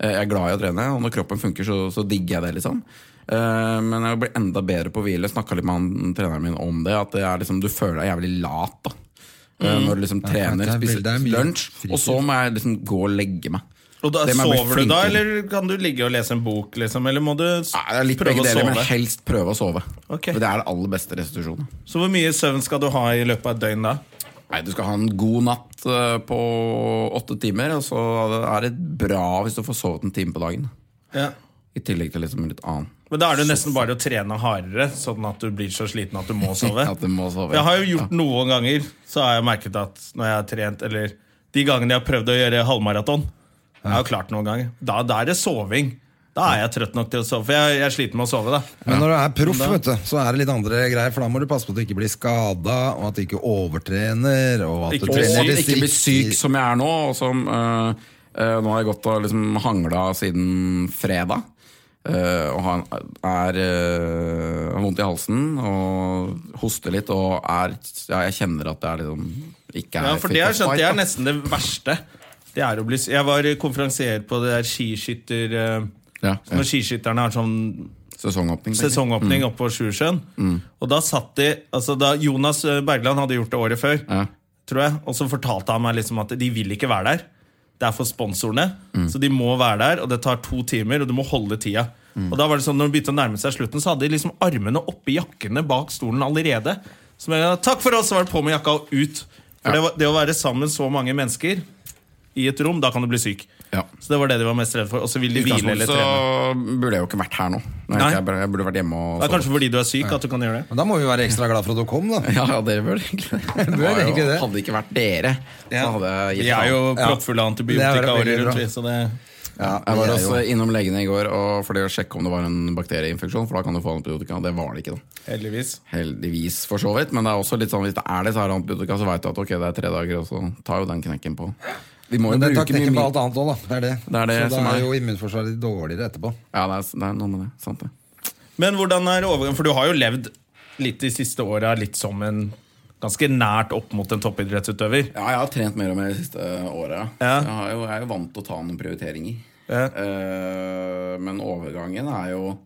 S3: Eh, Jeg er glad i å trene, og når kroppen funker, så, så digger jeg det. liksom Eh, Men jeg blir enda bedre på å hvile. Snakka litt med han, treneren min om det. At det er liksom, Du føler deg jævlig lat da Eh, når du liksom trener,
S2: Mm. det er
S3: spiser
S2: veldig- det er mye
S3: lunsj,
S2: fritid.
S3: og så må jeg liksom gå og legge meg.
S1: Og da
S3: Det må jeg bli
S1: Sover du da,
S3: flink til.
S1: eller kan du ligge og lese en bok, liksom? Eller må du s-
S3: Nei, det er litt
S1: prøve
S3: begge
S1: å
S3: deler, men
S1: sove?
S3: helst prøve å sove.
S1: Ok.
S3: For Det er det aller beste restitusjonen.
S1: Så hvor mye søvn skal du ha i løpet av et døgn da?
S3: Nei, Du skal ha en god natt eh, på åtte timer, og så er det bra hvis du får sovet en time på dagen.
S1: Ja.
S3: I tillegg til liksom litt annet.
S1: Men da er det jo nesten bare å trene hardere, sånn at du blir så sliten at du
S3: [laughs]
S1: må sove.
S3: At du må sove.
S1: Jeg har jo gjort noen ganger, så har jeg merket at når jeg har trent, eller de gangene jeg har prøvd å gjøre halvmaraton, jeg har jo klart noen ganger, da, da er det soving. Da er jeg trøtt nok til å sove, for jeg, jeg sliter med å sove da.
S2: Men når du er proff, vet du, så er det litt andre greier, for da må du passe på at du ikke blir skada, og at du ikke overtrener, og at
S1: Ikke
S2: du
S3: Og
S1: bli
S2: trener
S1: syk,
S2: distrikt-
S3: ikke bli syk som jeg er nå, og som eh, eh, Nå har jeg gått og liksom hangla siden fredag. eh, og han er eh, har vondt i halsen og hoster litt og er ja, Jeg kjenner at det er liksom ikke er
S1: Ja, for
S3: fit
S1: det har
S3: for
S1: jeg skjønt,
S3: fight,
S1: det er
S3: da.
S1: nesten det verste. Det er å bli, jeg var konferansier på det der skiskytter... eh,
S3: Ja,
S1: Når
S3: ja. Mm.
S1: skiskytterne har sånn
S3: Sesongåpning. tenker jeg.
S1: sesongåpning oppe på Sjusjøen.
S3: Mm.
S1: Og da satt de altså da Jonas Bergland hadde gjort det året før,
S3: Ja.
S1: tror jeg, og så fortalte han meg liksom at de vil ikke være der. Det er for sponsorene,
S2: Mm.
S1: så de må være der. Og det tar to timer, og du må holde tida.
S2: Mm.
S1: Og da var det sånn, når det begynte å nærme seg slutten, så hadde de liksom armene oppi jakkene bak stolen allerede. Så jeg, takk for oss, så var det på med jakka og ut. For det, var, det å være sammen så mange mennesker i et rom, da kan du bli syk.
S3: Ja.
S1: Så det var det de var mest redd for. Og så vil de
S3: I
S1: hvile
S3: utgangspunktet
S1: eller
S3: så
S1: trene.
S3: burde jeg jo ikke vært her nå. Nei,
S1: Nei.
S3: Jeg, burde, jeg burde vært hjemme og
S2: Sånn.
S1: Det er kanskje fordi du er syk at du kan gjøre det.
S2: Men da må vi være ekstra glad for at du kom, da.
S3: Ja, ja, dere burde egentlig det.
S2: Du er
S3: var jo-
S2: egentlig det.
S3: Hadde det ikke vært dere, så hadde jeg gitt
S1: Vi er
S3: faen.
S1: jo
S2: Ja.
S1: proppfulle
S2: Det
S1: av
S2: er
S1: antibiotika
S2: veldig
S1: året
S2: bra.
S1: rundt, vi, så det
S2: Ja,
S3: Jeg
S2: vi
S3: var
S2: er
S3: også
S2: jo-
S3: innom legene i går og for det å sjekke om det var en bakterieinfeksjon, for da kan du få antibiotika. Det var det ikke, da.
S1: heldigvis.
S3: Heldigvis, for så vidt. Men det er også litt sånn, hvis det er det, så er det antibiotika, så veit du at ok, det er tre dager, og så tar jo den knekken på. Vi må jo
S2: Men den tar
S3: bruke mye
S2: knekken på alt
S3: mye-
S2: annet òg, da. Det er det.
S3: Det er det
S2: så
S3: som
S2: da
S3: er-
S2: er jo immunforsvaret ditt dårligere etterpå.
S3: Ja, det er, det er noe med det. Sant det.
S1: Men hvordan er overgangen? For du har jo levd litt de siste åra litt som en ganske nært opp mot en toppidrettsutøver.
S3: Ja, jeg har trent mer og mer det siste eh, året.
S1: Ja.
S3: Jeg, har jo, jeg er jo vant til å ta noen prioriteringer.
S1: Ja.
S3: Eh, men overgangen er jo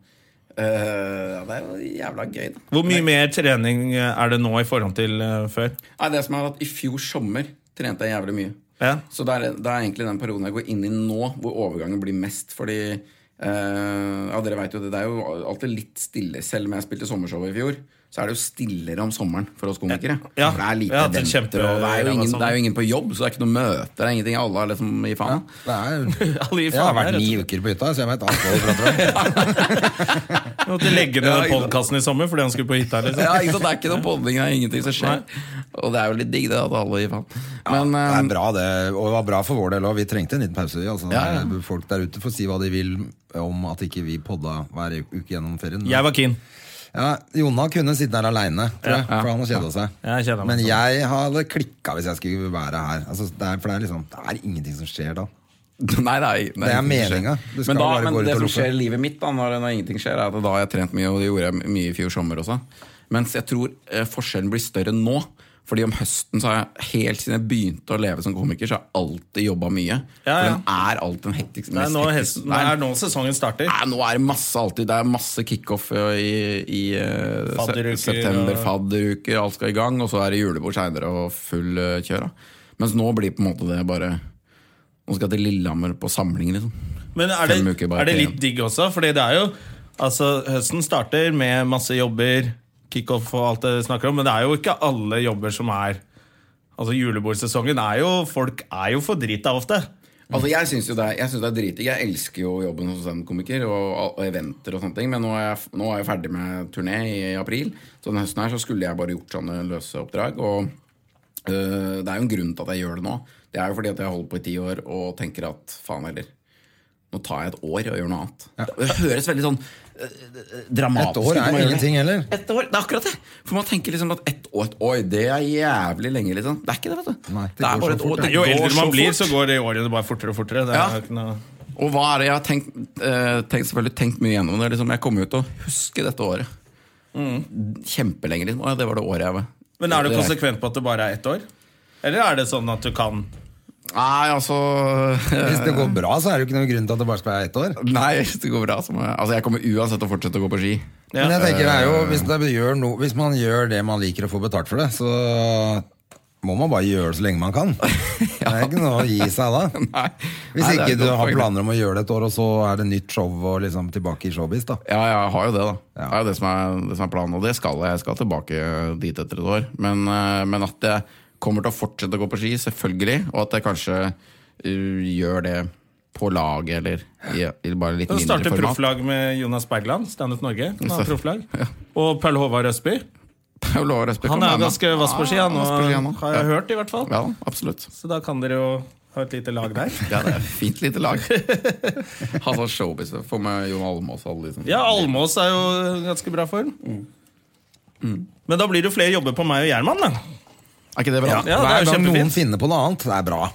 S3: eh, ja, Det er jo jævla gøy, da.
S1: Hvor mye mer trening eh, er det nå i forhold til eh, før?
S3: Nei, det som er at I fjor sommer trente jeg jævlig mye.
S1: Ja.
S3: Så det er, det er egentlig den perioden jeg går inn i nå, hvor overgangen blir mest. Fordi eh, ja, dere vet jo det, det er jo alltid litt stille. Selv om jeg spilte sommershow i fjor, så er det jo stillere om sommeren for oss komikere.
S1: Ja.
S3: For det er
S1: Ja,
S3: lite
S1: det er sånn.
S3: eventer, og det er,
S1: kjempe-
S3: jo ingen, det er jo ingen på jobb, så det er ikke noe møter. Det er ingenting alle har liksom i faen.
S2: Det er,
S1: Alle gir
S2: jeg har
S1: faen,
S2: vært
S1: rett og
S2: ni
S1: slett.
S2: uker på hytta, så jeg veit alt hva du prater om.
S1: Du måtte legge ned
S3: Ja,
S1: den
S3: ikke sant.
S1: podkasten i sommer fordi han skulle på hytta. Liksom.
S3: Ja, ikke sant? Det er ikke noe podding, det er ingenting som skjer. Og det er jo litt digg, det, at alle gir faen. Men
S2: Det er
S3: eh,
S2: bra det, og det var bra for vår del òg. Vi trengte en liten pause. vi, Altså,
S3: Ja, ja.
S2: Folk der ute får si hva de vil om at ikke vi podda hver uke gjennom ferien.
S1: Jeg var keen.
S2: Ja, Jonna kunne sitte her aleine, tror jeg, for han har kjeda seg.
S1: Ja, jeg kjeder meg
S2: Men
S1: sånn.
S2: jeg hadde klikka hvis jeg skulle være her. Altså, det er, for det er liksom Det er ingenting som skjer da.
S3: [laughs] Nei, det er,
S2: Det er
S3: ingenting som skjer.
S2: meninga. Du skal
S3: Men, da,
S2: bare gå
S3: men
S2: ut
S3: det
S2: og
S3: som
S2: loffe.
S3: skjer i livet mitt, da når, når ingenting skjer, er at da har jeg trent mye, og det gjorde jeg mye i fjor sommer også. Mens jeg tror eh, forskjellen blir større nå. Fordi om høsten så har jeg helt siden jeg begynte å leve som komiker, så har jeg alltid jobba mye.
S1: Ja,
S3: For
S1: ja.
S3: den er alltid den hektiske.
S1: Det er
S3: mest
S1: nå,
S3: hektiske-
S1: hesten, det er nå sesongen starter.
S3: Nei, nå er det masse alltid. Det er masse kickoff ø, i, i ø, se-
S1: Fadderuker
S3: september,
S1: og-
S3: fadderuker, alt skal i gang. Og så er det julebord seinere og full ø, kjør. Da. Mens nå blir på en måte det bare Nå skal jeg til Lillehammer på samling, liksom.
S1: Men er det,
S3: Fem uker bare
S1: er det
S3: til
S1: litt digg også? Fordi det er jo Altså, høsten starter med masse jobber, kickoff og alt det du snakker om, men det er jo ikke alle jobber som er Altså, julebordsesongen er jo Folk er jo for drita ofte.
S3: Altså Jeg syns jo det er, jeg synes det er dritdigg. Jeg elsker jo jobben som standup-komiker og, og eventer og sånne ting, men nå er, jeg, f- nå er jeg ferdig med turné i april. Så denne høsten her så skulle jeg bare gjort sånne løse oppdrag. Og øh, det er jo en grunn til at jeg gjør det nå. Det er jo fordi at jeg har holdt på i ti år og tenker at faen heller. Nå tar jeg et år og gjør noe annet. Det høres veldig sånn øh, øh, dramatisk
S2: Et år
S3: når
S2: er
S3: man gjør det.
S2: ingenting heller.
S3: Et år, det er akkurat det! For man tenker liksom at ett år, et år, det er jævlig lenge, liksom. Det er ikke det, vet du.
S2: Nei, det
S3: det,
S2: går
S3: er
S2: så
S3: bare et
S2: fort,
S3: år.
S2: ja.
S3: Det
S1: Jo
S3: går
S1: eldre man
S3: så
S1: blir,
S3: fort.
S1: så går det årene bare fortere og fortere. Det er
S3: Ja.
S1: jo ikke noe...
S3: Og hva er det jeg har tenkt, eh, tenkt selvfølgelig tenkt mye gjennom det. Liksom, jeg kommer jo til å huske dette året. Kjempelenge. Liksom. Å, ja, det var det året jeg var
S1: Men er du
S3: Det
S1: konsekvent på at det bare er ett år? Eller er det sånn at du kan
S3: Nei, altså [laughs]
S2: Hvis det går bra, så er det jo ikke noen grunn til at det bare skal være ett år.
S3: Nei, hvis det går bra, så må jeg Altså, jeg kommer uansett til å fortsette å gå på ski. [laughs]
S1: Ja.
S2: Men jeg tenker det er jo, hvis, det gjør no, hvis man gjør det man liker og får betalt for det, så må man bare gjøre det så lenge man
S1: [laughs]
S2: kan. Det er ikke noe å gi seg da.
S3: Nei.
S2: Hvis
S3: Nei, det er
S2: ikke
S3: et
S2: du
S3: godt
S2: har
S3: poeng.
S2: planer om å gjøre det et år, og så er det nytt show og liksom tilbake i showbiz, da.
S3: Ja, jeg har jo det, da.
S2: Ja.
S3: Det er jo det som er, det som er planen, og det skal jeg. Jeg skal tilbake dit etter et år. Men, eh, men at jeg kommer til å fortsette å gå på ski, selvfølgelig. Og at jeg kanskje eh, gjør det på laget, eller i, i bare litt
S1: Du
S3: mindre
S1: starter
S3: format. [laughs]
S1: profflag med Jonas Bergland, Standup Norge. Han har profflag. Og Paul Håvard Østby.
S3: Paul Aare Østby
S1: Han
S3: kommer
S1: er
S3: med.
S1: ganske vass på ski, han,
S3: Ja, vass på ski, han
S1: og
S3: også.
S1: har jeg
S3: Ja.
S1: hørt, i hvert fall.
S3: Ja, absolutt.
S1: Så da kan dere jo ha et lite lag der.
S3: Ja, det er et fint lite
S1: [laughs]
S3: lag. Ha sånn showbiz. Få med Jon Almaas og alle de som
S1: Ja, Almås er jo i ganske bra form.
S3: Mm.
S1: Mm. Men da blir det jo flere jobber på meg og Gjerman, da.
S3: Er ikke det bra?
S1: Ja,
S2: Hver
S1: det er jo
S2: gang noen
S1: kjempefint.
S2: finner på noe annet, det er bra.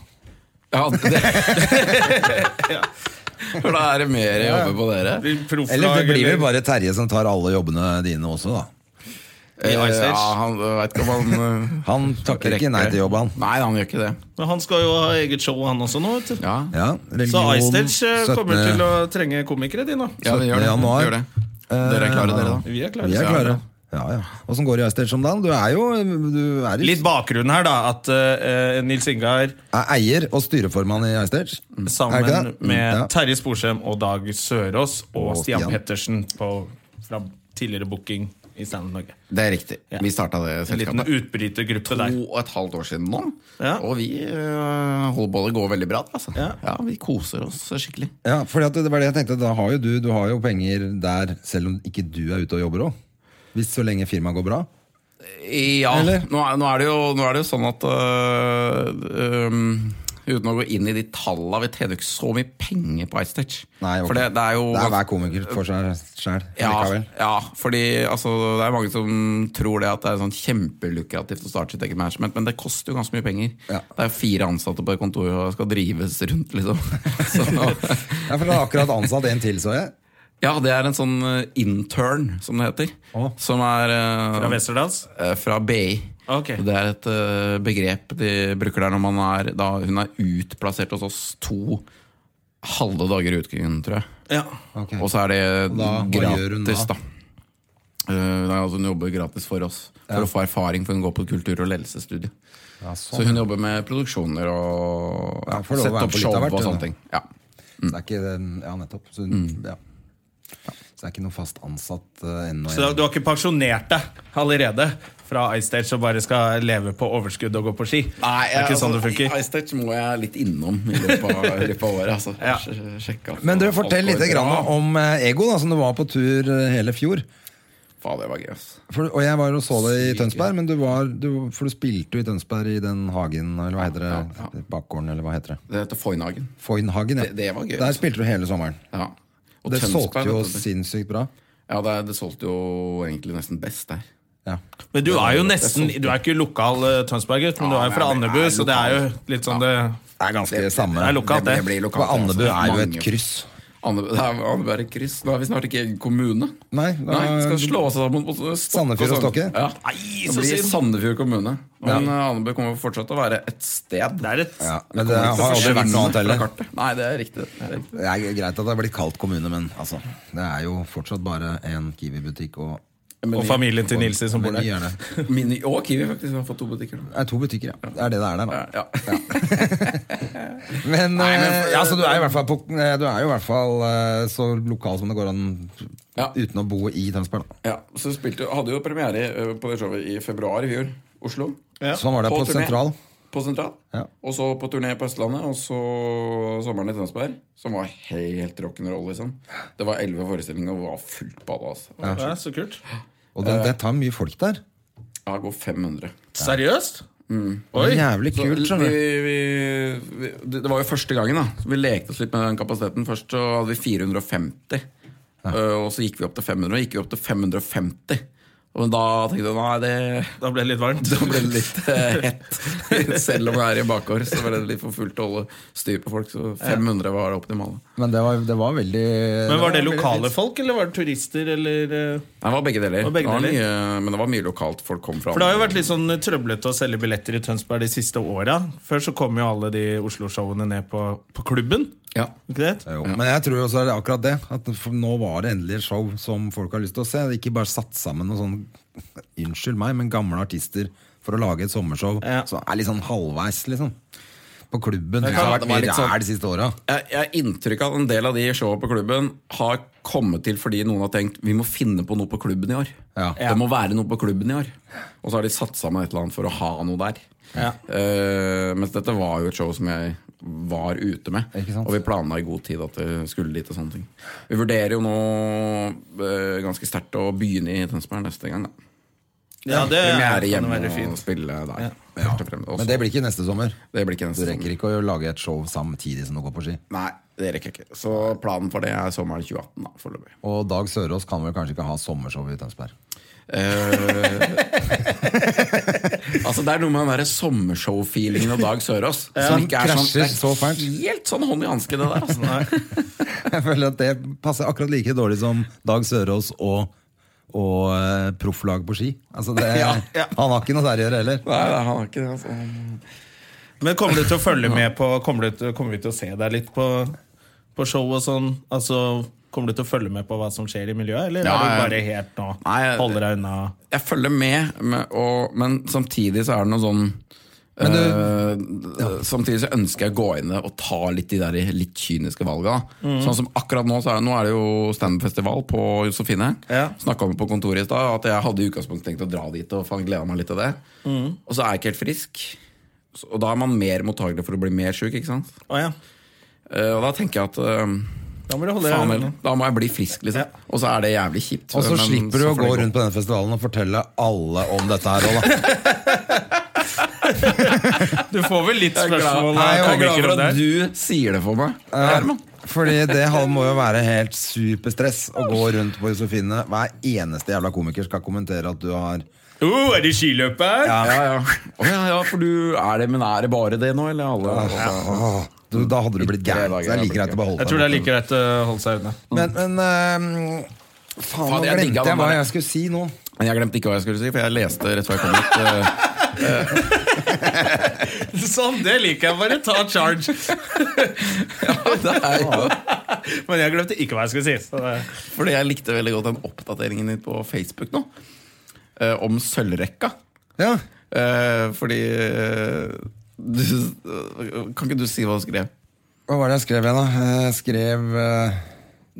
S3: Ja, det. [laughs]
S1: [laughs]
S3: For da er det mer jeg jobber på dere.
S1: Blir profflag,
S2: Eller det blir vel
S1: eller-
S2: bare Terje som tar alle jobbene dine også, da.
S1: I Ice Age.
S3: Eh, Ja, han veit ikke om han eh,
S2: Han takker ikke nei til jobb, han.
S3: Nei, han gjør ikke det.
S1: Men han skal jo ha eget show, han også, nå. vet du.
S3: Ja,
S2: Ja,
S1: Så
S2: religion,
S1: Icestage eh,
S2: 17.
S1: kommer til å trenge komikere, de nå.
S3: ja det
S2: 17.
S3: gjør det.
S2: januar.
S3: Gjør det. Dere er klare, dere, da?
S1: Eh, Vi er klare.
S2: Vi er
S1: så-
S2: klare. Ja, ja. Åssen går det i Icestage om dagen? Du er jo du er i-
S1: Litt bakgrunn her, da. At eh, Nils Ingar
S2: er eier og styreformann i Icestage. Er ikke
S1: Mm. sammen
S2: det? Mm,
S1: med
S2: Ja.
S1: Terje Sporsem og Dag Sørås og,
S2: Og
S1: Stian,
S2: Stian.
S1: Pettersen på, fra tidligere booking i Standup Norge.
S3: Det er riktig. Vi starta det
S1: En liten
S3: selskapet
S1: utbrytergruppe
S3: to
S1: der.
S3: og et halvt år siden nå.
S1: Ja.
S3: Og vi øh, holder på. Det går veldig bra. Altså.
S1: Ja.
S3: Ja, vi koser oss skikkelig.
S2: Ja, fordi at det var det jeg tenkte Da har jo du, du har jo penger der selv om ikke du er ute og jobber òg. Hvis så lenge firmaet går bra.
S3: Ja, nå er, nå, er det jo, nå er det jo sånn at øh, øhm, Uten å gå inn i de tallene Vi tjener jo ikke så mye penger på Icestage.
S2: Nei, ok.
S3: For det, det er jo
S2: Det er hver komiker for seg sjæl.
S3: ja, ja, fordi altså, det er mange som tror det at det er sånn kjempelukrativt å starte sitt eget management, men det koster jo ganske mye penger.
S2: Ja.
S3: Det er fire ansatte på et kontor og skal drives rundt, liksom. [laughs] Så,
S2: Ja, for du har akkurat ansatt en til, så jeg.
S3: ja, det er en sånn eh, intern, som det heter.
S2: Å.
S3: Som er eh,
S1: Fra Westerdals.
S3: eh, fra BI.
S1: Ok.
S3: Det er et eh, begrep de bruker der når man er, da hun er utplassert hos oss to halve dager i uken, tror jeg.
S1: Ja.
S2: Ok.
S3: Og så er det
S2: da, hva gjør hun
S3: gratis,
S2: da?
S3: da. Eh, nei, altså hun jobber gratis for oss, for å få erfaring, for hun går på kultur- og ledelsesstudie.
S2: Ja, sånn,
S3: Så hun jobber med produksjoner og ja,
S2: Ja, får lov å
S3: sette
S2: være
S3: opp
S2: på litt av
S3: show
S2: hvert,
S3: og
S2: hun,
S3: sånne
S2: da.
S3: ting. Ja.
S2: Så det er ikke, ja, nettopp. Så, ja. så det er ikke noe fast ansatt eh, ennå.
S1: Så da, du har ikke pensjonert deg allerede fra Icestage og bare skal leve på overskudd og gå på ski? det er ikke sånn det funker.
S3: Icetouch altså, må jeg litt innom i løpet av, i løpet av året. Altså.
S1: Ja.
S3: Sj- Sjekke at
S2: Men du,
S3: alt
S2: fortell
S3: går
S2: litt grann
S3: bra.
S2: om eh, Ego, da, som du var på tur eh, hele fjor.
S3: Faen, det var gøy, ass.
S2: For, og jeg var og så det i Tønsberg, men du var, du, for du spilte jo i Tønsberg i den hagen, eller hva heter det?
S3: ja,
S2: Bakgården, eller hva heter det?
S3: Det heter Foynhagen.
S2: Foynhagen, ja.
S3: Det- det var gøy,
S2: Der
S3: altså.
S2: spilte du hele sommeren.
S3: Ja. Og
S2: det
S3: Tønsberg,
S2: solgte jo
S3: vet du.
S2: sinnssykt bra.
S3: Ja, det, det solgte jo egentlig nesten best der.
S2: Ja.
S1: Men du er jo nesten Du er ikke lokal eh, Tønsberg-gutt, men du
S3: Ja,
S1: er jo fra
S3: men jeg
S1: Andebu,
S3: er
S1: så det er jo
S3: lokal.
S1: litt sånn det
S2: Det er ganske det samme.
S1: det er lokalt, det.
S3: blir lokalt,
S2: For Andebu
S3: altså.
S2: er jo et
S3: Mange-
S2: kryss.
S3: Andebu det er Andebu er et kryss. Nå er vi snart ikke egen kommune.
S2: Nei, da-
S3: vi skal slå oss sammen mot Stokke.
S2: Sandefjord og Stokke?
S3: Ja.
S1: Nei,
S3: Det
S1: så
S3: blir
S1: synd!
S3: Sandefjord kommune. Men eh, Andebu kommer fortsatt til å være et sted.
S1: Det er et
S2: Ja, men det har aldri vært noe annet heller.
S3: Nei, det er riktig. Det er riktig.
S2: Det er greit at det har blitt kalt kommune, men altså, det er jo fortsatt bare en Kiwi-butikk og
S1: Og familien til Nilsi som bor
S2: Men
S1: der.
S2: gjerne.
S3: [laughs] Mini og Kiwi faktisk har fått to butikker. nå.
S2: Det er to butikker, ja. Det er det det er der, da.
S3: Ja.
S2: Men,
S3: Nei, men-
S2: eh, ja, så du er jo i hvert fall, på, eh, du er jo i hvert fall eh, så lokal som det går an
S3: Ja.
S2: uten å bo i Tønsberg. Da.
S3: ja. Så spilte, hadde jo premiere eh, på det showet i februar i fjor. Oslo.
S1: Ja.
S2: Sånn var det
S3: På
S2: på
S3: turné.
S2: Sentral.
S3: på Sentral.
S2: Ja.
S3: Og så på turné på Østlandet, og så sommeren i Tønsberg. Som var helt rock'n'roll, liksom. Det var elleve forestillinger og det var fullt balle. Altså. Ja.
S1: Ja, så kult.
S2: Og
S1: Eh.
S2: det, det tar mye folk der.
S3: Jeg går 500.
S1: Seriøst?
S3: Mm.
S1: Oi.
S2: Det er jævlig
S3: Så
S2: kult. skjønner
S3: vi,
S2: du.
S3: vi, vi, det det var jo første gangen, da. Så vi lekte oss litt med den kapasiteten. Først så hadde vi 450, øh, og så gikk vi opp til 500. Og gikk vi opp til 550. Og da tenkte jeg nei, det,
S1: Da ble det litt varmt.
S3: da ble det litt eh, hett. [laughs] Selv om det er i bakgård, så var det litt for fullt å holde styr på folk. Så 500 var det optimale.
S2: Men det var, det var veldig
S1: Men var det
S2: veldig
S1: lokale
S2: fint.
S1: folk, eller var det turister, eller eh?
S3: Nei, Det var begge deler.
S1: Det var begge
S3: Det var
S1: deler.
S3: mye, men det var mye lokalt folk kom fra.
S1: For det har jo vært litt sånn trøblete å selge billetter i Tønsberg de siste åra. Før så kom jo alle de Oslo-showene ned på, på klubben.
S3: ja.
S1: Ikke det?
S2: Jo, Men jeg tror også det er akkurat det. At for nå var det endelig et show som folk har lyst til å se. Ikke bare satt sammen noen sånn [laughs] Unnskyld meg, men gamle artister for å lage et sommershow
S1: Ja.
S2: som er litt sånn halvveis, liksom. På klubben. Det
S3: kan-
S2: har
S3: det
S2: vært
S3: var
S2: mye
S3: litt sånn-
S2: ræl de siste åra.
S3: jeg, jeg har inntrykk av at en del av de showene på klubben har kommet til fordi noen har tenkt vi må finne på noe på klubben i år.
S2: Ja.
S3: Det må være noe på klubben i år. Og så har de satt sammen et eller annet for å ha noe der.
S1: Ja.
S3: Eh, mens dette var jo et show som jeg var ute med.
S2: Ikke sant?
S3: Og vi planla i god tid at vi skulle dit og sånne ting. Vi vurderer jo nå eh, ganske sterkt å begynne i Tønsberg neste gang. Da.
S1: Ja, det
S3: Premiere
S1: kan jo
S3: hjemme
S1: være
S3: og
S1: fint.
S3: spille der.
S2: Ja.
S3: først og fremst.
S2: Men det blir ikke neste sommer.
S3: Det blir
S2: Du
S3: ikke neste
S2: rekker ikke å lage et show samtidig som du går på ski.
S3: Nei, det rekker jeg ikke. Så planen for det er sommeren 2018, da, foreløpig.
S2: Og Dag Sørås kan vel kanskje ikke ha sommershow i Tønsberg.
S3: Eh, [laughs] altså, det er noe med den derre sommershow-feelingen av Dag Sørås.
S2: Som krasjer så fælt.
S3: sånn- Det er helt sånn hånd i hanske, det der. Altså.
S2: Jeg føler at det passer akkurat like dårlig som Dag Sørås og, og eh, profflag på ski. Altså det,
S3: Ja, ja.
S2: Han har ikke noe særlig å gjøre heller.
S3: Nei, nei, han har ikke det. Altså.
S1: Men kommer du til å følge med på Kommer, du til, kommer vi til å se deg litt på, på show og sånn? Altså, kommer du til å følge med på hva som skjer i miljøet, eller
S3: Ja,
S1: er du
S3: ja.
S1: bare helt nå
S3: Nei, jeg-
S1: holder deg unna?
S3: Jeg følger med, men- og, men samtidig så er det noe sånn
S2: Men du,
S3: Eh, Samtidig så ønsker jeg å gå inn og ta litt de der litt kyniske valga.
S2: Mhm.
S3: Sånn som akkurat nå, så er, nå er det jo standup-festival på Josefine.
S1: Ja.
S3: Snakka om det på kontoret i stad, at jeg hadde i utgangspunktet tenkt å dra dit og faen gleda meg litt til det.
S2: Mhm.
S3: Og så er jeg ikke helt frisk. Så- Og da er man mer mottagelig for å bli mer sjuk, ikke sant.
S1: Å ja.
S3: Eh, og da tenker jeg at eh,
S1: Da må du holde deg
S3: faen heller,
S1: unna.
S3: da må jeg bli frisk, liksom. Og så er det jævlig kjipt.
S2: og så
S3: men
S2: slipper du å
S3: får
S2: gå
S3: det
S2: rundt på denne festivalen og fortelle alle om dette her. Ola.
S1: Du får vel litt
S3: Jeg er glad,
S1: spørsmål
S2: Nei,
S1: av
S3: jeg er glad
S1: komikere
S3: for
S1: om det
S3: at
S1: her.
S3: du sier det for meg. Herman.
S2: Fordi det han må jo være helt superstress å gå rundt på Josefine. Hver eneste jævla komiker skal kommentere at du har
S1: Oh, er det skiløpet her?
S3: Ja, [laughs] ja. Å, ja, ja, for du er det, men er det bare det nå, eller alle?
S2: Åh, du, Da hadde du blitt gæren. Så det er like greit å beholde
S1: Jeg tror det er like greit å holde seg unna.
S2: Men, men ehm, faen, nå
S3: Faen, jeg digga
S2: glemte
S3: den
S2: jeg hva
S3: der.
S2: jeg skulle si nå.
S3: Men jeg glemte ikke hva jeg skulle si, for jeg leste rett før jeg kom hit. eh,
S1: [laughs] Sånn, det liker jeg. Bare ta charge.
S3: [laughs] det er jo-
S1: Men jeg glemte ikke hva jeg skulle si. Så det,
S3: [laughs] Fordi jeg likte veldig godt den oppdateringen din på Facebook nå, eh, om sølvrekka.
S2: Ja,
S3: Eh, fordi eh, du, Kan ikke du si hva du skrev?
S2: Hva var det jeg skrev igjen, da? Jeg skrev eh,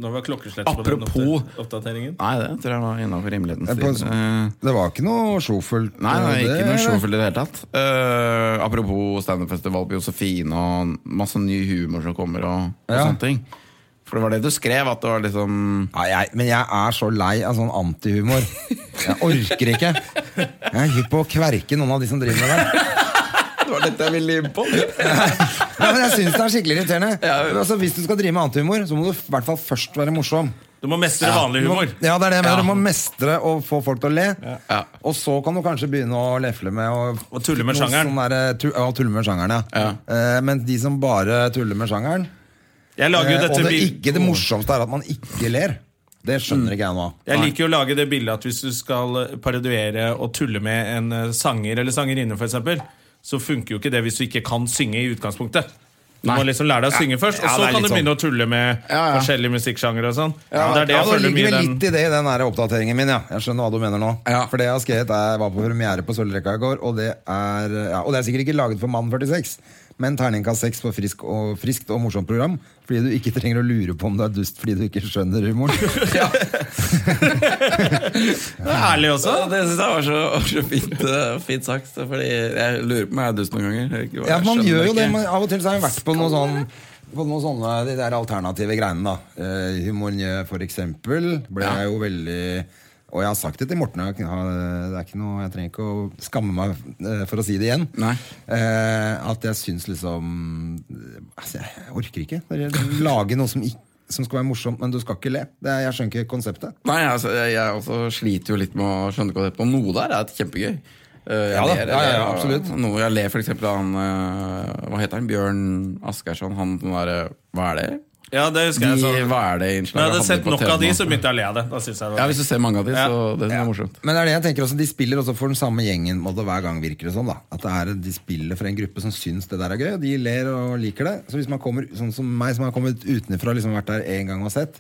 S1: nå var klokkeslettet på den
S3: Apropos-
S1: oppda- oppdateringen.
S3: Nei, det tror jeg var innafor rimelighetens
S2: Jeg på-
S3: tid. Eh,
S2: Det var ikke noe sjofelt.
S3: Nei, nei, ikke noe
S2: det-
S3: showfullt i det hele tatt. Eh, apropos standup-festival på Josefine og masse ny humor som kommer og, og
S2: Ja.
S3: sånne ting. For det var det du skrev, at det var liksom
S2: Nei, jeg, men jeg er så lei av sånn antihumor. Jeg orker ikke. Jeg er hypp på å kverke noen av de som driver med det.
S3: Det var dette jeg ville inn på.
S2: Nei, men jeg syns det er skikkelig irriterende.
S3: Ja, ja.
S2: Altså, hvis du skal drive med antihumor, så må du i hvert fall først være morsom.
S1: Du må mestre
S2: Du
S1: vanlig
S2: må-
S1: humor.
S2: Ja, det er det jeg mener.
S1: Ja.
S2: Du må mestre og få folk til å le.
S3: Ja.
S2: Og så kan du kanskje begynne å lefle med og,
S1: Og tulle med
S2: noe
S1: sjangeren.
S2: sånn der, tu, ja, tulle med sjangeren, ja. Eh, men de som bare tuller med sjangeren
S1: Jeg lager jo
S2: eh,
S1: dette
S2: Og det,
S1: bil-
S2: ikke, det morsomste er at man ikke ler. Det skjønner ikke jeg nå.
S1: Jeg liker jo å lage det bildet at hvis du skal eh, parodiere og tulle med en eh, sanger eller sangerinne, for eksempel, så funker jo ikke det hvis du ikke kan synge i utgangspunktet. Du må
S3: Nei.
S1: liksom lære deg å synge først, og
S3: Ja,
S1: så
S3: det er
S1: kan du
S3: litt
S1: begynne å tulle med
S3: Ja, ja.
S1: forskjellige musikksjangere og sånn. Og det er det
S2: Ja, altså,
S1: jeg
S2: det
S1: føler
S2: ligger
S1: mye
S2: vel
S1: i den.
S2: litt i det i den her oppdateringen min, ja. Jeg skjønner hva du mener nå.
S3: Ja.
S2: For det jeg har skrevet, er, var på premiere på Sølvrekka i går, og det er ja, Og det er sikkert ikke laget for Mann 46, Men terningkast seks på frisk og, friskt og morsomt program. Fordi du ikke trenger å lure på om du er dust fordi du ikke skjønner humoren.
S1: Det er ærlig også.
S3: Ja, det syns jeg var så, var så fint, eh, fint sagt. Fordi jeg lurer på om jeg er dust noen ganger. Jeg vet ikke hva
S2: Ja,
S3: jeg
S2: man
S3: skjønner
S2: gjør jo det,
S3: ikke.
S2: men Av og til så har jeg vært på noe sånn på noen sånne de der alternative greiene. da eh, Humornje, for eksempel, ble
S3: Ja.
S2: jeg jo veldig Og jeg har sagt det til Morten, og jeg, har- det er ikke noe, jeg trenger ikke å skamme meg eh, for å si det igjen.
S3: Nei.
S2: Eh, at jeg syns liksom altså, Jeg orker ikke. Dere Lage noe som, ikke, som skal være morsomt, men du skal ikke le. Det er, jeg skjønner ikke konseptet.
S3: Nei, altså, jeg, jeg også sliter jo litt med å skjønne hva det er på. Noe der er kjempegøy. Eh, jeg
S2: Ja da,
S3: ler,
S2: ja, ja,
S3: jeg-
S2: absolutt.
S3: Noe jeg ler for eksempel av han eh, Hva heter han? Bjørn Asgeirsson. Han den derre Hva er det?
S1: Ja, det
S3: De,
S1: husker jeg. Så. Når
S3: hva er det innslaget
S1: jeg hadde
S3: hadde
S1: sett
S3: på
S1: nok av de,
S3: TV nå?
S1: så begynte jeg å le av det. Da synes jeg det
S3: Ja,
S1: var.
S3: Hvis du ser mange av de,
S1: Ja.
S3: så det synes jeg er morsomt.
S2: Men det er det jeg tenker også, de spiller også for den samme gjengen på en måte, hver gang, virker det sånn. da At det er, De spiller for en gruppe som syns det der er gøy, og de ler og liker det. Så hvis man kommer, sånn som meg, som har kommet utenfra liksom vært der én gang og sett,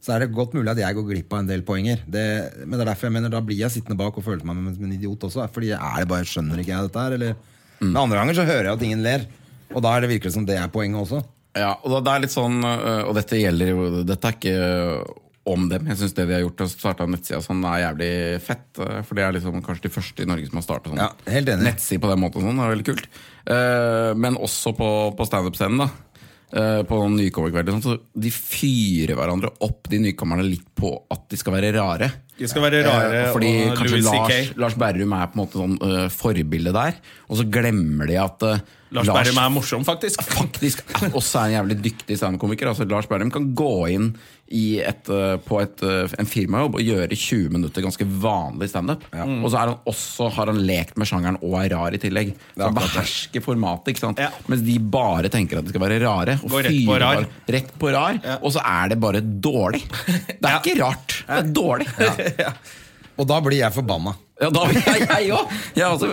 S2: så er det godt mulig at jeg går glipp av en del poenger. Det, men det er derfor jeg mener da blir jeg sittende bak og føler meg som en idiot også. Fordi er det bare skjønner ikke jeg dette her, eller? Men andre ganger så hører jeg at ingen ler, og da er det virkelig som det er poenget også.
S3: Ja, og da- det er litt sånn, øh, og dette gjelder jo Dette er ikke øh, om dem. Jeg syns det de har gjort, å starte en nettside og sånn, er jævlig fett. øh, For det er liksom kanskje de første i Norge som har starta sånn
S2: Ja, helt enig. [laughs]
S3: nettside på den måten. og Sånn, det er veldig kult. Eh, Men også på, på standup-scenen, da. Eh, På noen nykommerkvelder. og sånn, Så de fyrer hverandre opp, de nykommerne, litt på at de skal være rare.
S1: De skal være rare.
S3: Eh, Fordi
S1: og
S3: kanskje
S1: Louis CK.
S3: Lars, Lars Berrum er på en måte sånn øh, forbilde der, og så glemmer de at øh,
S1: Lars Berrum er morsom, faktisk.
S3: [laughs] faktisk også er en jævlig dyktig standup-komiker. Altså, Lars Berrum kan gå inn i et, eh, på et, eh, en firmajobb og gjøre 20 minutter ganske vanlig standup. Mm. Og så er han også, har han lekt med sjangeren og er rar i tillegg. Så han behersker formatet. ikke sant?
S1: Ja.
S3: Mens de bare tenker at de skal være rare. Og
S1: Går rett på
S3: fyrer
S1: rar.
S3: bare Rett på rar Og så er det bare dårlig. Det
S1: [laughs]
S3: er ikke rart. Det er dårlig. Ja,
S2: Og da blir jeg forbanna.
S3: da [laughs] vil jeg jeg òg. Jeg også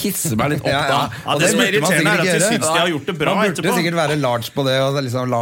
S3: hisser meg litt opp
S2: Ja, ja.
S3: da.
S1: Ja,
S2: Og
S1: det,
S2: det
S1: som er
S2: burde man
S1: irriterende, er
S2: sikkert
S1: at de
S2: ikke
S1: syns
S2: gjøre.
S1: de har gjort det bra
S2: Man burde
S1: etterpå.
S2: sikkert være large på det og liksom la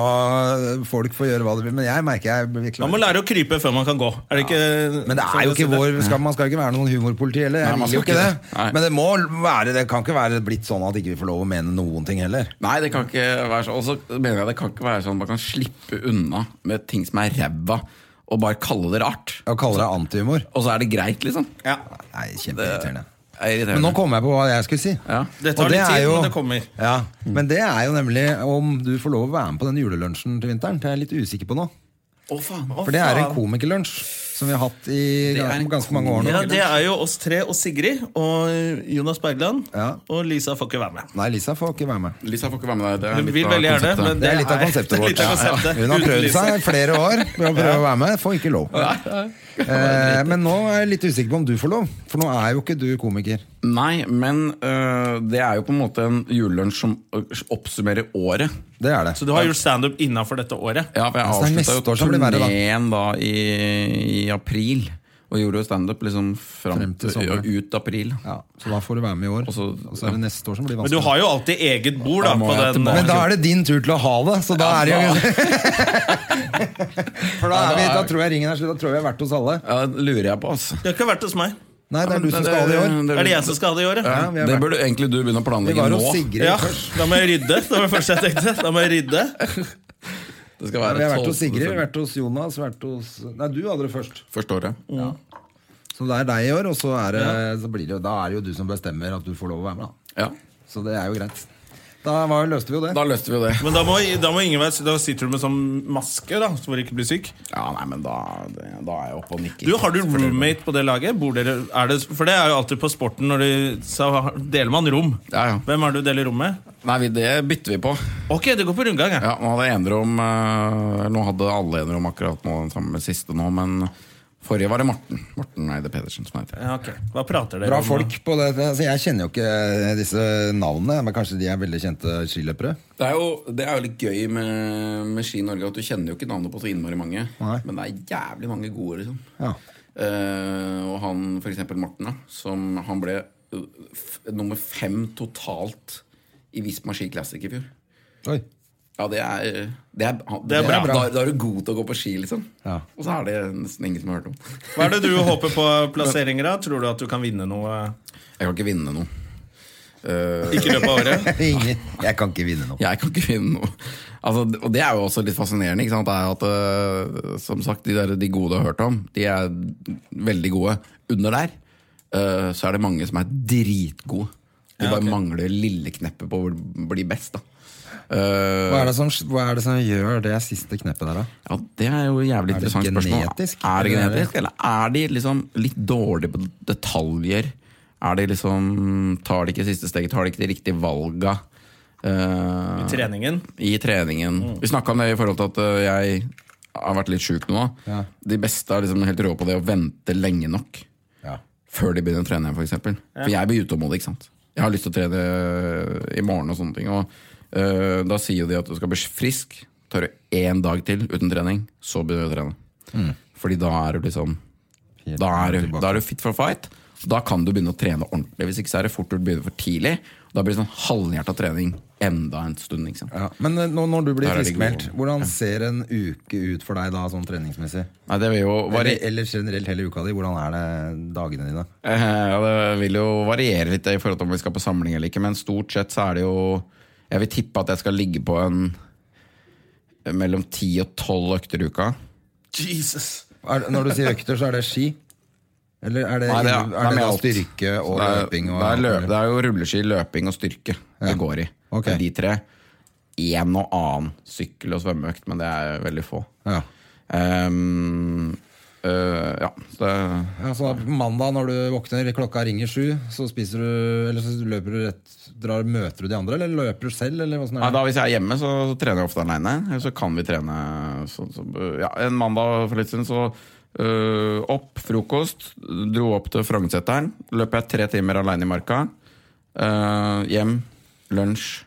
S2: folk få gjøre hva de vil. Men jeg merker jeg blir
S1: Man må
S2: klar.
S1: lære å krype før man kan gå. Er det ikke
S2: Men det
S1: sånn
S2: er jo ikke
S1: sier?
S2: vår skal, Man skal jo ikke være noen humorpoliti heller.
S3: Nei,
S2: Jeg
S3: man
S2: vil jo
S3: skal
S2: ikke det.
S3: ikke det. Nei.
S2: Men det må være Det kan ikke være blitt sånn at ikke vi får lov å mene noen ting heller.
S3: Nei, det kan ikke være sånn. Og så mener jeg det kan ikke være sånn at man kan slippe unna med ting som er ræva, og bare kalle det rart.
S2: Å kalle det antihumor.
S3: Og så er det greit, liksom.
S1: Ja.
S2: Nei, kjempeirriterende.
S3: Det er irriterende.
S2: Men nå kommer jeg på hva jeg skulle si.
S3: Ja.
S1: Det tar
S2: Og
S1: litt
S2: er
S1: tid, men det kommer.
S2: Ja, men det er jo nemlig om du får lov å være med på den julelunsjen til vinteren. Det er jeg litt usikker på nå.
S3: Å, faen.
S2: For det er en komikerlunsj som vi har hatt i
S3: Det er en
S2: ganske mange år nå.
S1: Ja, det er jo oss tre og Sigrid og Jonas Bergland.
S2: Ja.
S1: Og Lisa får ikke være med.
S2: Nei, Lisa får ikke være med.
S3: Lisa får ikke være med deg. Det er
S1: Hun
S3: litt
S1: vil
S3: av
S1: veldig gjerne,
S3: konseptet.
S1: men
S2: Det er litt av
S1: Nei,
S2: konseptet vårt.
S1: litt av konseptet.
S2: Hun har
S1: Uten
S2: prøvd
S1: Lise.
S2: seg i flere år med å prøve å være med. Får ikke lov. Eh, men nå er jeg litt usikker på om du får lov, for nå er jo ikke du komiker.
S3: Nei, men øh, det er jo på en måte en julelunsj som øh, oppsummerer året.
S2: Det er det.
S1: Så du har gjort standup innafor dette året?
S3: Ja, for jeg
S2: Så Altså, det er neste
S3: avslutta
S2: år
S3: jo
S2: som blir verre, da.
S3: turneen da i, i april, og gjorde jo standup liksom fram
S2: Frem til
S3: til ja,
S2: sommeren.
S3: ut april.
S2: Ja, så da får du være med i år.
S3: Og så-
S2: Og så er det neste år som blir
S1: Men du
S2: vanskelig.
S1: har jo alltid eget bord da,
S3: Da må
S1: på
S3: jeg
S1: den.
S3: tilbake.
S2: Men da er det din tur til å ha det, så da er det jo For da, er vi, da tror jeg ringen er slutt. Da tror jeg vi har vært hos alle.
S3: Ja, det lurer jeg på, altså.
S1: Det har ikke vært hos meg.
S2: Nei, det er du som skal ha det i år.
S1: Er det jeg som skal ha det i året?
S2: vi har
S3: Det
S2: vært-
S3: burde egentlig du begynne å
S2: Vi
S3: planlegge
S2: var hos
S3: nå.
S2: Sigrid
S1: Ja,
S2: først.
S1: da må jeg rydde. Det var det første jeg tenkte. Da må jeg rydde.
S3: Det skal
S2: Ja,
S3: være
S2: Vi har vært
S3: 12.
S2: hos Sigrid, vi har vært hos Jonas, vært hos Nei, du hadde det først.
S3: Forstår jeg.
S2: Så det er deg i år, og så, er det, så blir det, jo- da er det jo du som bestemmer at du får lov å være med. Da.
S3: Ja.
S2: Så det er jo greit. Da var, løste vi jo det.
S3: Da løste vi jo det.
S1: Men da må, da må Ingeberg Da sitter du med sånn maske, da, så hvor du ikke blir syk.
S3: Ja, nei, men da, det- da er jeg oppe og nikker.
S1: Du, Har du roommate på det laget? Bor dere, er det, for det er jo alltid på sporten når du Så har- deler man rom.
S3: Ja, ja.
S1: Hvem er det du deler rom med?
S3: Nei, vi, det bytter vi på.
S1: Ok, det går på rundgang, jeg.
S3: Ja, nå hadde jeg enerom eh, Nå hadde alle enerom akkurat nå, den samme siste nå, men forrige var det Morten. Morten Eide Pedersen, som han heter.
S1: Ja, ok. Hva prater dere
S2: Bra
S1: om?
S2: folk på det. Altså, jeg kjenner jo ikke eh, disse navnene, men kanskje de er veldig kjente skiløpere.
S3: Det er jo, det er jo litt gøy med, med Ski Norge at du kjenner jo ikke navnet på så innmari mange,
S2: Nei.
S3: men det er jævlig mange gode, liksom.
S2: Ja.
S3: Eh, og han, for eksempel Morten, da, som han ble eh, f nummer fem totalt i Visma Ski Classic i fjor.
S2: Oi.
S3: Ja, det er, det er,
S1: Det er bra.
S3: Da, da er du god til å gå på ski, liksom.
S2: Ja.
S3: Og så er det nesten ingen som har hørt om.
S1: Hva er det du håper på plasseringer av? Tror du at du kan vinne noe?
S3: Jeg kan ikke vinne noe. Eh,
S1: Ikke i løpet av
S2: [laughs] [laughs]
S1: året.
S2: Ingen, jeg kan ikke vinne noe.
S3: Jeg kan ikke finne noe altså, Og det er jo også litt fascinerende. Ikke sant? Det er at, eh, som sagt, de, der, de gode du har hørt om, de er veldig gode. Under der eh, så er det mange som er dritgode. De bare mangler lille kneppet på å bli best. Da. Eh,
S2: Hva er, det som, hva er det som gjør det siste kneppet der, da?
S3: ja, det er jo et jævlig
S2: Er det
S3: interessant spørsmål.
S2: genetisk?
S3: Er det genetisk, eller er de liksom litt dårlige på detaljer? Er de liksom, Tar de ikke siste steget? Tar de ikke de riktige valga? Eh,
S1: Treningen.
S3: i treningen.
S2: Mm.
S3: Vi snakka om det i forhold til at ø, jeg har vært litt sjuk nå.
S2: Ja.
S3: De beste er liksom helt rå på det å vente lenge nok
S2: Ja.
S3: før de begynner å trene igjen, f.eks. For, eksempel. for jeg blir utålmodig, ikke sant. Jeg har lyst til å trene ø, i morgen og sånne ting. Og ø, da sier jo de at du skal bli frisk. Tar du én dag til uten trening, så begynner du å trene.
S2: Mm.
S3: Fordi da er du liksom da er, du- da er du fit for fight. Da kan du begynne å trene ordentlig. Hvis ikke så er det fort gjort å begynne for tidlig. Da blir det sånn halvhjerta trening enda en stund. Ikke sant?
S2: Ja, men eh, nå, når du blir
S3: Der er de
S2: friskmeldt,
S3: gode.
S2: hvordan ser en uke ut for deg da, sånn treningsmessig?
S3: Nei, det vil jo
S2: Eller,
S3: variere,
S2: eller generelt hele uka di, hvordan er det dagene dine?
S3: [laughs] ja, det vil jo variere litt i forhold til om vi skal på samling eller ikke, men stort sett så er det jo Jeg vil tippe at jeg skal ligge på en mellom ti og tolv økter i uka.
S1: Jesus!
S2: Er, det- når du sier økter, så er det ski? Eller er det,
S3: det
S2: er,
S3: det
S2: det,
S3: med
S2: da
S3: alt.
S2: styrke og
S3: det er,
S2: løping? Og,
S3: det, er løp, det er jo rulleski, løping og styrke det går i.
S2: Ok.
S3: Det er de tre. En og annen sykkel- og svømmeøkt, men det er veldig få.
S2: Ja.
S3: Ehm, øh, ja, så det
S2: Ja, så da, mandag når du våkner, klokka ringer sju, så spiser du Eller så løper du rett drar, Møter du de andre, eller løper du selv, eller åssen
S3: Nei,
S2: er det?
S3: da Hvis jeg er hjemme, så, så trener jeg ofte aleine. Eller så kan vi trene sånn som ja, En mandag for litt siden så øh, opp, frokost, dro opp til Frognerseteren. Løp jeg tre timer aleine i marka. Øh, hjem, lunsj,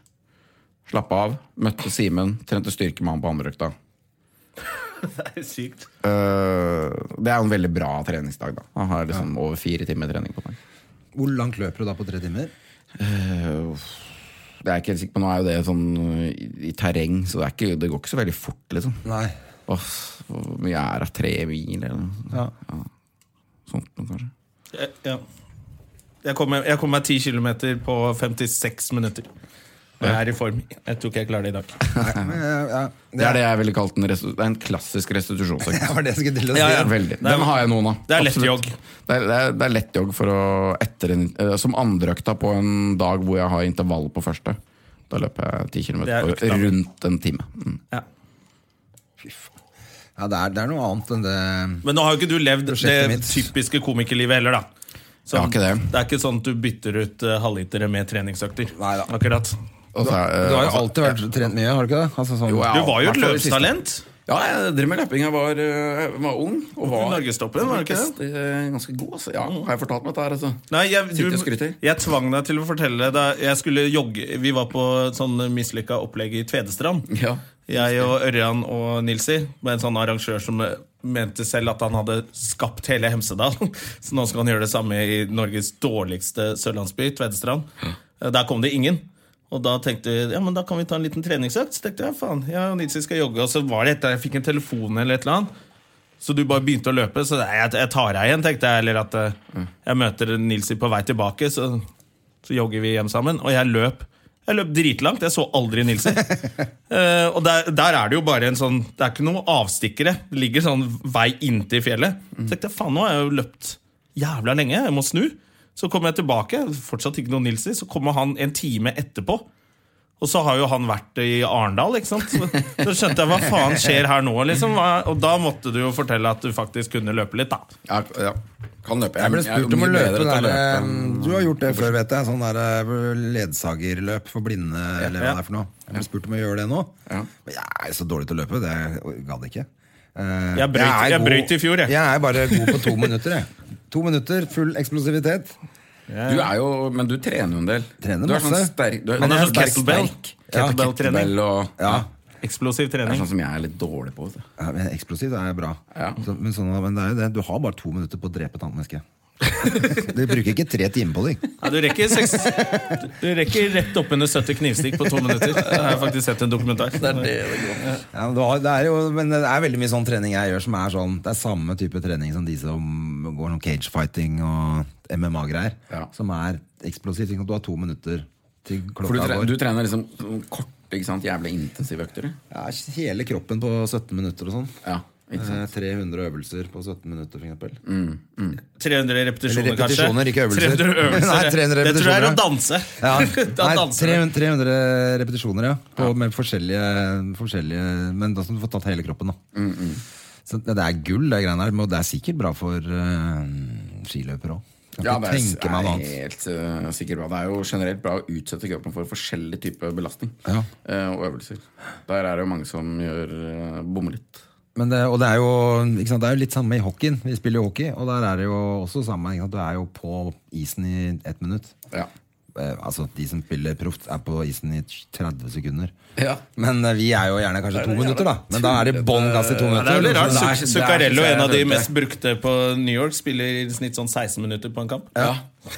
S3: slappe av. Møtte Simen, trente styrke med han på andre økta.
S1: Det er sykt.
S3: Øh, det er jo en veldig bra treningsdag, da. Han har liksom over fire timer trening på meg.
S2: Hvor langt løper du da på tre timer?
S3: Øh, det er jeg ikke helt sikker på. Nå er jo det sånn øh, i, i terreng, så det, er ikke, det går ikke så veldig fort, liksom.
S2: Nei. [laughs]
S3: Åh, Hvor mye er det? Tre mil, eller noe
S2: Ja.
S3: sånt? noe, kanskje
S1: Jeg- Ja. Jeg kom, jeg kom meg 10 km på 56 minutter. Og jeg er i form. Jeg tror ikke jeg klarer det i dag.
S2: Nei, ja, ja.
S3: Det er det jeg ville kalt en, restitu det er en klassisk restitusjonsøkt.
S2: Det var det jeg skulle til å si.
S1: [laughs] Ja, ja.
S3: Veldig. Den har jeg noen av.
S1: Det er lett
S3: Absolutt.
S1: jogg.
S3: Det er, det er, det er lett jogg for å etter en, eh, som andreøkta på en dag hvor jeg har intervall på første. Da løper jeg 10 km
S1: Det er
S3: på
S1: økta mi.
S3: rundt en time. Mm.
S1: Ja.
S2: Ja, det, er, det er noe annet enn det
S1: Men nå har jo ikke du levd
S2: Prosjektet
S1: det
S2: mitt.
S1: typiske komikerlivet heller, da. Så
S3: Jeg har ikke det.
S1: er ikke sånn at du bytter ut eh, halvlitere med treningsøkter.
S2: Neida.
S1: Akkurat.
S3: Og så er, eh,
S2: Du har jo
S3: altså-
S2: alltid vært trent mye, har du ikke det? Altså, sånn,
S3: Jo, jeg
S1: Du
S3: har-
S1: var jo et
S3: hvert fall det siste.
S1: løpstalent.
S3: Ja, jeg driver med løping. Jeg var, eh, var ung. Og var
S1: Norgestoppen, var det ikke
S3: Eh, Ganske god, altså. Ja, har jeg fortalt meg dette her, altså?
S1: Nei, jeg,
S3: Sitter og
S1: du,
S3: skryter.
S1: jeg tvang deg til å fortelle da jeg skulle jogge Vi var på et sånn mislykka opplegg i Tvedestrand.
S3: Ja.
S1: Jeg og Ørjan og Nilsi var en sånn arrangør som eh, mente selv at han hadde skapt hele Hemsedal. [laughs] Så nå skal han gjøre det samme i Norges dårligste sørlandsby, Tvedestrand. Eh, Der kom det ingen. Og da tenkte vi ja, men da kan vi ta en liten treningsøkt. Så tenkte jeg, faen, jeg og Nilsi skal jogge. Og så var det etter jeg fikk en telefon eller et eller annet. Så du bare begynte å løpe, så nei, jeg, jeg tar deg igjen, tenkte jeg. Eller at eh, jeg møter Nilsi på vei tilbake, så, så jogger vi hjem sammen. Og jeg løp. Jeg løp dritlangt. Jeg så aldri Nilsi. Eh, og der, der er det jo bare en sånn Det er ikke noe avstikkere. Det ligger sånn vei inntil fjellet. Så tenkte jeg faen, nå har jeg jo løpt jævla lenge. Jeg må snu. Så kommer jeg tilbake, fortsatt ikke noe Nilsi. Så kommer han en time etterpå. Og så har jo han vært i Arendal, ikke sant. Så, så skjønte jeg hva faen skjer her nå, liksom. Hva- Og da måtte du jo fortelle at du faktisk kunne løpe litt, da.
S3: Ja, Mm, ja. Kan løpe.
S2: Jeg ble
S3: er
S2: spurt om å
S3: mye
S2: løpe
S3: bedre til
S2: der
S3: å
S2: um, eh,
S3: løpe enn-
S2: Du har gjort det før, vet jeg. Sånn der eh, ledsagerløp for blinde, eller hva
S1: Ja.
S2: det er for noe. Jeg ble spurt om å gjøre det nå.
S3: Ja.
S2: Men jeg er så dårlig til å løpe. Det jeg gadd ikke. Eh,
S1: Jeg brøyt-
S2: er
S1: jeg
S2: god-
S1: brøyt i fjor, jeg.
S2: Jeg er bare god på to minutter, jeg. To minutter, full eksplosivitet.
S3: Du er jo, men du trener jo en del.
S2: Trener
S3: du er sånn
S2: masse.
S3: sterk, du er,
S1: Men
S3: du
S1: det er
S3: så
S1: sånn kettlebell.
S3: Ja,
S1: Kettlebell-trening.
S3: kettlebell og
S2: Ja,
S1: Eksplosiv
S3: Det er
S1: trening.
S3: sånn som jeg er litt dårlig på. vet du.
S2: ja, men Eksplosivt er bra.
S3: Ja.
S2: Så, men, sånn, men det er jo det. Du har bare to minutter på å drepe et annet menneske. [laughs] Du bruker ikke tre timer på det.
S1: Ja, du, rekker seks, du rekker rett opp under 70 knivstikk på to minutter. Jeg har faktisk sett en dokumentar.
S2: Ja, men, du har, det er jo, men det er veldig mye sånn trening jeg gjør som er sånn Det er samme type trening som de som går noen cagefighting og MMA-greier.
S3: Ja.
S2: Som er eksplosivt. ikke sant? Du har to minutter til
S3: For du,
S2: klokka
S3: tre,
S2: går.
S3: du trener liksom sånn korte, ikke sant? Jævlig intensive økter?
S2: Ja, hele kroppen på 17 minutter og sånn.
S3: Ja, ikke sant? Mm.
S2: Eh, 300 øvelser på 17 minutter, for eksempel.
S1: 300 repetisjoner,
S2: Eller repetisjoner,
S1: kanskje.
S2: ikke øvelser.
S1: [laughs] 300 øvelser.
S2: Nei, 300
S1: det tror jeg er å
S2: repetisjoner.
S1: danse.
S2: Ja.
S3: [laughs]
S1: [laughs] da
S2: Nei,
S1: danser du.
S2: 300, 300 repetisjoner, ja. På, Med forskjellige, forskjellige Men da skal du få tatt hele kroppen, da.
S3: Mm,
S2: Så det, det er gull, det greiene her. Men det er sikkert bra for eh, skiløpere òg. Kan
S3: Ja,
S2: ikke
S3: det er,
S2: tenke meg noe
S3: er
S2: annet.
S3: helt eh, sikkert bra. Det er jo generelt bra å utsette kroppen for forskjellig type belastning
S2: Ja.
S3: eh, og øvelser. Der er det jo mange som gjør eh, bommer litt.
S2: Men det, og det er, jo, ikke sant, det er jo litt samme i hockeyen. Vi spiller jo hockey, og der er det jo også samme. Ikke sant? Du er jo på isen i ett minutt.
S3: Ja.
S2: Eh, altså, de som spiller proft, er på isen i 30 sekunder.
S3: Ja.
S2: Men eh, vi er jo gjerne kanskje to minutter, da. Men da er det bånn gass i to
S1: Ja, det er
S2: minutter.
S1: veldig rart.
S3: Det er-
S1: Zuc-
S3: det er-
S1: Zuccarello, en av de
S3: det er-
S1: mest brukte på New York, spiller i snitt sånn 16 minutter på en kamp.
S3: Ja.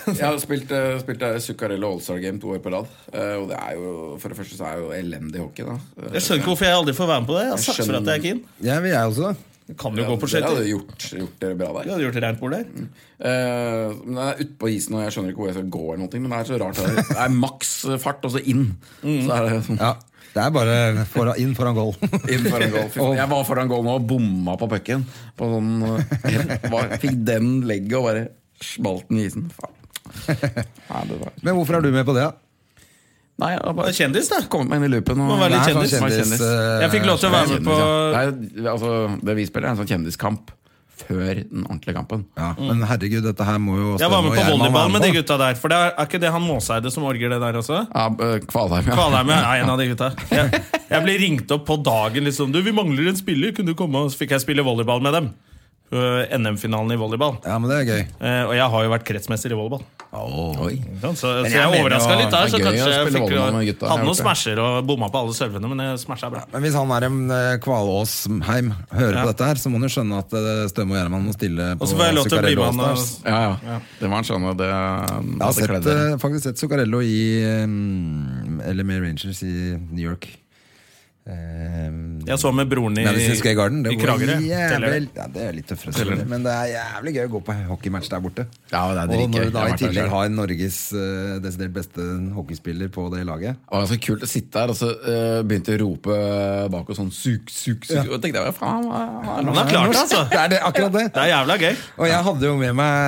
S3: Jeg har spilt, eh, spilt eh, Zuccarello Allstar Game to år på rad. eh, og det er jo, for det første så er det jo elendig hockey, da. Eh,
S1: Jeg skjønner ikke hvorfor jeg aldri får være med på det. Jeg har sagt for at jeg er keen.
S2: Ja, vi er også det.
S1: Kan jo Mm. gå på
S3: Dere
S1: skøyter.
S3: hadde gjort, gjort dere bra der.
S1: Vi hadde gjort rent bord der.
S3: Eh, men det er utpå isen, og jeg skjønner ikke hvor jeg skal gå. eller noe, Men det er så rart. Det er, det er maks fart, og så inn.
S1: Mm.
S3: Så er det sånn
S2: Ja, det er bare foran, inn foran
S1: [laughs]
S2: goal.
S3: inn foran goal. Fy faen, Jeg var foran goal nå og bomma på pucken. På sånn, eh, var- fikk den legget og bare smalt den i isen. Faen.
S1: [laughs]
S3: Nei, det var-
S2: Men hvorfor er du med på det? da?
S3: Nei, jeg har bare
S1: Kjendis, da.
S3: kommet meg inn i loopen.
S1: Må
S3: Og,
S1: være litt
S2: Det er
S1: kjendis.
S2: sånn eh,
S1: Jeg fikk lov til å være med på
S3: ja. Nei, altså, det vi spiller, er en sånn kjendiskamp før den ordentlige kampen.
S2: ja, Men herregud, dette her må jo
S1: Jeg var
S2: Støme og
S1: med på
S2: Gjerman være
S1: volleyball med de
S2: på.
S1: gutta der. For det er er ikke det han Måseide som orger det der også?
S3: Ja, eh, Kvalheim, ja.
S1: Kvalheim er en av de gutta. Jeg, jeg ble ringt opp på dagen. liksom Du, 'Vi mangler en spiller, kunne du komme?' Og så fikk jeg spille volleyball med dem. På NM-finalen i volleyball.
S2: Ja, men det er gøy.
S1: Eh, og jeg har jo vært kretsmester i volleyball.
S3: Oi.
S1: Ikke sant? Så, så
S3: Men jeg
S1: jeg
S3: mener
S1: overraska
S3: jo-
S1: litt der. Så
S3: det er gøy
S1: kanskje
S3: å
S1: jeg
S3: spille
S1: fikk,
S3: volleyball med gutta.
S1: hadde
S3: Jeg har
S1: noen
S3: gjort
S1: smasher og bomma på alle servene, men jeg smasha bra.
S2: Men hvis han er en eh, Kvalåsheim hører på dette her, så må han jo skjønne at eh, Støme og Gjerman må stille på
S1: Og så får jeg lov til å bli
S2: Zuccarello
S1: med han.
S2: All-Stars.
S1: og-
S3: [laughs] Ja, ja. Det var en sånn og det,
S2: Jeg har
S3: det
S2: sett,
S3: kledde.
S2: eh, faktisk sett Zuccarello i um, LMA Rangers i New York. Um,
S1: Jeg så med broren i,
S2: Madison Square Garden. Det,
S1: i
S2: var
S1: Kragerø. Teller det?
S2: jævlig, ja, det er litt tøffere, selvfølgelig, men det er jævlig gøy å gå på hockeymatch der borte.
S3: Ja, det er
S2: og
S3: dritgøy.
S2: når du da i
S3: Jeg har vært der selv.
S2: tillegg har Norges eh, desidert beste hockeyspiller på det laget
S3: Det var så kult å sitte der, og så eh, begynte jeg å rope bak oss sånn suk, suk, suk. Og jeg tenkte jeg, faen, hva faen
S1: Han har klart det, altså.
S2: [laughs] Det er det, akkurat det!
S1: Det er jævla gøy.
S2: Og jeg hadde jo med meg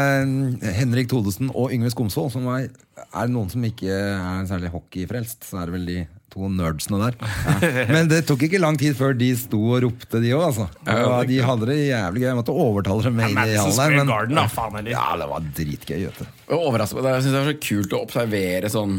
S2: eh, Henrik Thodesen og Yngve Skomsvold. Som er, er det noen som ikke er særlig hockeyfrelst, så er det vel de to nerdsene der. Men det tok ikke lang tid før de sto og ropte, de òg. Altså. Og De hadde det jævlig gøy. Jeg måtte overtale dem med inn i hallen
S1: Madison Square
S2: der. Men
S1: Garden, da, faen heller.
S2: ja, det var dritgøy. Vet du.
S3: Jeg overrasket meg. Det- Jeg synes det er så kult å observere sånn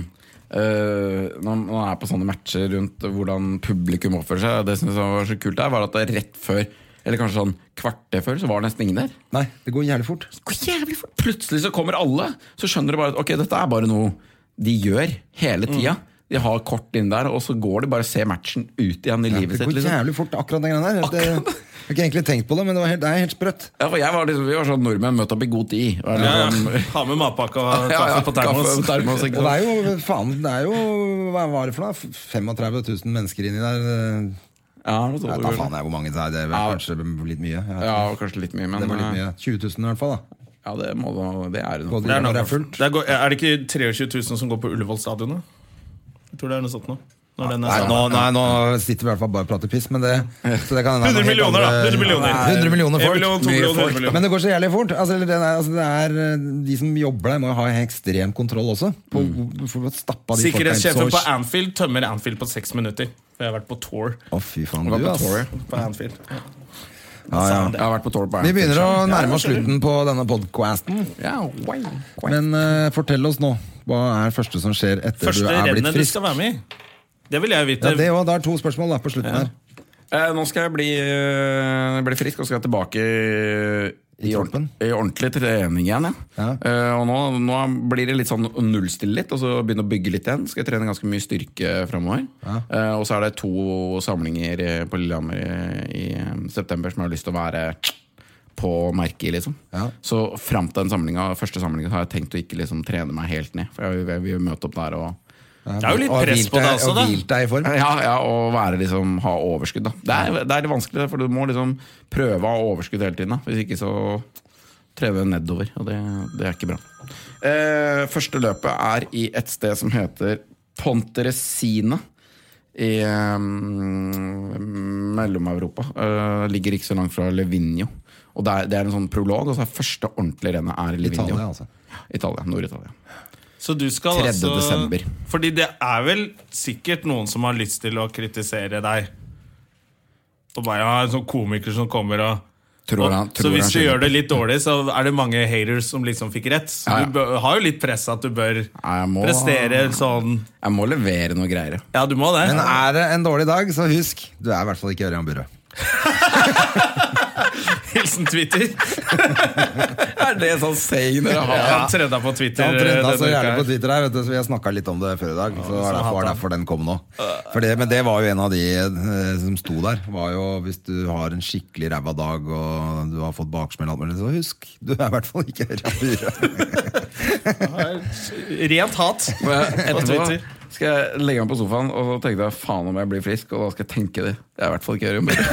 S3: eh, når man er på sånne matcher rundt hvordan publikum oppfører seg. Det synes jeg var så kult der, var at det rett før, eller kanskje sånn kvarter før, så var det nesten ingen der.
S2: Nei, det går jævlig fort.
S3: Hvor jævlig fort- Plutselig så kommer alle. Så skjønner du bare at ok, dette er bare noe de gjør hele
S2: Mm.
S3: tida. De har kort inn der, og så går de bare og ser matchen ut igjen i livet
S2: Det
S3: sitt.
S2: går
S3: liksom.
S1: sånn?
S2: jævlig fort, akkurat den greia der. Det, jeg har ikke egentlig tenkt på det, men det, var helt, det er helt sprøtt.
S3: Ja, for jeg var liksom, Vi var sånn nordmenn møtt opp i god tid. Og
S1: Ja, ja.
S3: liksom, [laughs]
S1: Ha med matpakke og
S3: Ja, ja,
S1: kaffe på termos.
S3: kaffe på termos, ikke
S2: Og det
S3: sant?
S2: er jo, faen, det er jo Hva var det for noe? 35 000 mennesker inni der. eh,
S3: Ja,
S2: Jeg
S3: det var sånn
S2: vet
S3: det
S2: da
S3: var.
S2: faen jeg hvor mange det er. Det er vel
S3: Ja.
S2: kanskje litt mye. Jeg vet
S3: ja,
S2: ikke.
S3: kanskje litt mye, men eh,
S2: det var litt mye. 20 000 i hvert fall, da.
S3: Ja, det, må, da- det er det
S2: Både
S3: nok.
S1: Det er,
S2: når
S1: nok,
S2: det er fullt.
S1: det er, går- er det ikke 23 000 som går på Ullevål stadion? da? Jeg tror det er noe sånt nå. Når den er
S2: Nei,
S1: sammen.
S2: nå, nei, nå sitter vi i hvert fall bare og prater piss, men det, så det kan, hende det er
S1: 100
S2: noe helt
S1: millioner, da.
S2: andre-
S1: 100 millioner.
S2: Nei, 100 millioner
S1: En
S2: folk.
S1: million, to
S2: Mye
S1: millioner,
S2: folk.
S1: en million.
S2: Men det går så jævlig fort. Altså, eller det er, altså, det er, eh, de som jobber der, må jo ha ekstrem kontroll også. På, hvor- for å stappe de
S1: Mm. Sikkerhetssjefen på
S2: folka inn så-
S1: Anfield tømmer Anfield på seks minutter. For jeg har vært på tour
S2: Å, fy faen, du,
S3: Jeg var på
S2: ass.
S3: tour, jeg.
S1: på Anfield.
S2: Ja, ja.
S3: Jeg har vært på tour på
S2: Vi
S3: Anfield.
S2: begynner å nærme oss slutten på denne podcasten.
S1: Mm,
S3: ja, wow, wow.
S2: Men eh, fortell oss nå. Hva er det første som skjer etter du
S1: Første
S2: er blitt
S1: rennet du
S2: frisk?
S1: skal være med i. Det vil jeg vite.
S2: Ja, det, og, det er to spørsmål da, på slutten her.
S3: Eh, nå skal jeg bli, eh, bli frisk og skal tilbake i,
S2: I
S3: ord-
S2: troppen?
S3: i ordentlig trening igjen. Ja.
S2: Ja.
S3: Eh, og nå, nå blir det litt sånn å nullstille litt, og så begynne å bygge litt igjen. Skal jeg trene ganske mye styrke framover. Eh, og så er det to samlinger eh, på Lillehammer i, i eh, september som jeg har lyst til å være på merket i, liksom.
S2: Ja.
S3: Så fram til den samlinga, første samlinga har jeg tenkt å ikke liksom trene meg helt ned. For jeg, vil- jeg vil møte opp der og
S1: Det er jo litt
S2: Og
S1: press
S2: hvilt
S1: på det
S2: deg-
S1: også,
S2: og
S1: da.
S2: hvilt deg i form.
S3: Ja, ja og være, liksom, ha overskudd. Da. Det, er, det er litt vanskelig, for du må liksom prøve å ha overskudd hele tiden. Da. Hvis ikke så treve nedover, og det, det er ikke bra. Eh, første løpet er i et sted som heter Ponteresina i eh, Mellom-Europa. Eh, ligger ikke så langt fra Levinio. Og det er, det er en sånn prolog, og så er første ordentlige rennet er Levinio.
S2: Italia, altså.
S3: Italia, Nord-Italia.
S1: Så du skal
S3: 3.
S1: altså
S3: desember.
S1: Fordi det er vel sikkert noen som har lyst til å kritisere deg. Og bare ha en sånn komiker som kommer og
S3: Tror han-
S1: og,
S3: tror
S1: så hvis
S3: han
S1: du
S3: skjønner.
S1: gjør det litt dårlig, så er det mange haters som liksom fikk rett. Så
S3: Ja, ja.
S1: du bør, har jo litt press at du bør
S3: jeg må-
S1: prestere sånn
S3: Jeg må levere noe greier. ja.
S1: Ja, du må det.
S2: Men er det en dårlig dag, så husk, du er i hvert fall ikke Ørjan Burøe.
S1: Hilsen
S2: [laughs]
S1: Twitter.
S3: Er det sånn saying dere har?
S1: Han trenda på Twitter.
S2: Han trenda så
S1: denne uka
S2: gjerne
S1: her.
S2: på Twitter her, vet du, så vi har snakka litt om det før i dag. Så det var
S1: så
S2: derfor,
S1: hater han.
S2: derfor den kom nå. For det, men det var jo en av de eh, som sto der. Var jo, hvis du har en skikkelig ræva dag og du har fått baksmell, og alt mulig, så husk, du er i hvert fall ikke Ørjan Burøe.
S1: Rent hat.
S2: [laughs]
S3: Og jeg- Etterpå
S1: Twitter.
S3: skal jeg legge meg på sofaen og så tenkte jeg faen om jeg blir frisk. Og da skal jeg tenke det. Det er i hvert fall ikke Ørjan Burøe.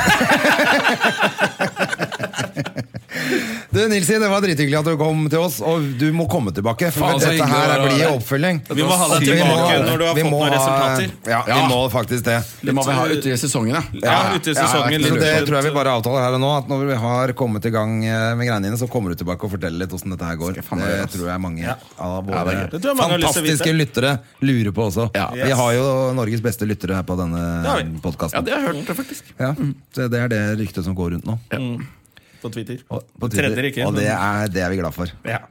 S2: Du Nilsi, det var drithyggelig at du kom til oss, og du må komme tilbake. For
S3: Faen, så
S2: dette her
S3: hyggelig å
S2: blir
S3: være her.
S2: oppfølging.
S1: Vi må ha deg
S2: Vi må-
S1: tilbake når du har
S2: vi
S1: fått
S2: må ha-
S1: noen resultater.
S2: Ja, vi
S3: Ja.
S2: må faktisk det.
S3: Det må vi ha ute i sesongen, ja.
S1: Ja, ute i sesongen.
S2: Så
S1: litt
S2: det
S1: rundt.
S2: tror jeg vi bare avtaler her og nå. At når vi har kommet i gang eh, med greiene dine, så kommer du tilbake og forteller litt åssen dette her går.
S3: Skal jeg faen meg
S2: Det
S3: gjøre, ass.
S2: tror jeg mange av
S3: Ja,
S2: våre
S3: det er greit.
S1: Det tror jeg mange har lyst til å
S2: fantastiske lyttere lurer på også.
S3: Ja.
S2: Vi
S1: Yes.
S2: har jo Norges beste lyttere her på denne
S1: har vi.
S3: Ja,
S2: podkasten.
S3: det har jeg hørt, faktisk.
S2: Ja, så det er det ryktet som går rundt nå.
S1: På Twitter.
S2: Og, på
S1: Twitter,
S2: Twitter.
S1: ikke,
S2: og
S1: men-
S2: det er, det er vi glad for.
S1: Ja.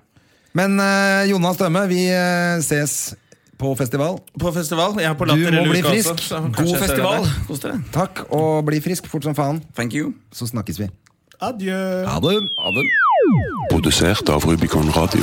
S2: Men eh, Jonas Dømme, vi eh, ses på festival.
S1: På festival. Jeg er på
S2: Du
S1: Latter
S2: må
S1: i
S2: bli
S1: Luka også,
S2: frisk.
S1: så kanskje
S3: God
S1: jeg ser deg
S3: festival.
S1: der.
S3: Kos dere.
S2: Takk, og bli frisk fort som faen.
S3: Thank you.
S2: Så snakkes vi.
S1: Adjø.
S2: Ha det!
S3: Ha det.
S4: Produsert av Rubicon Radio.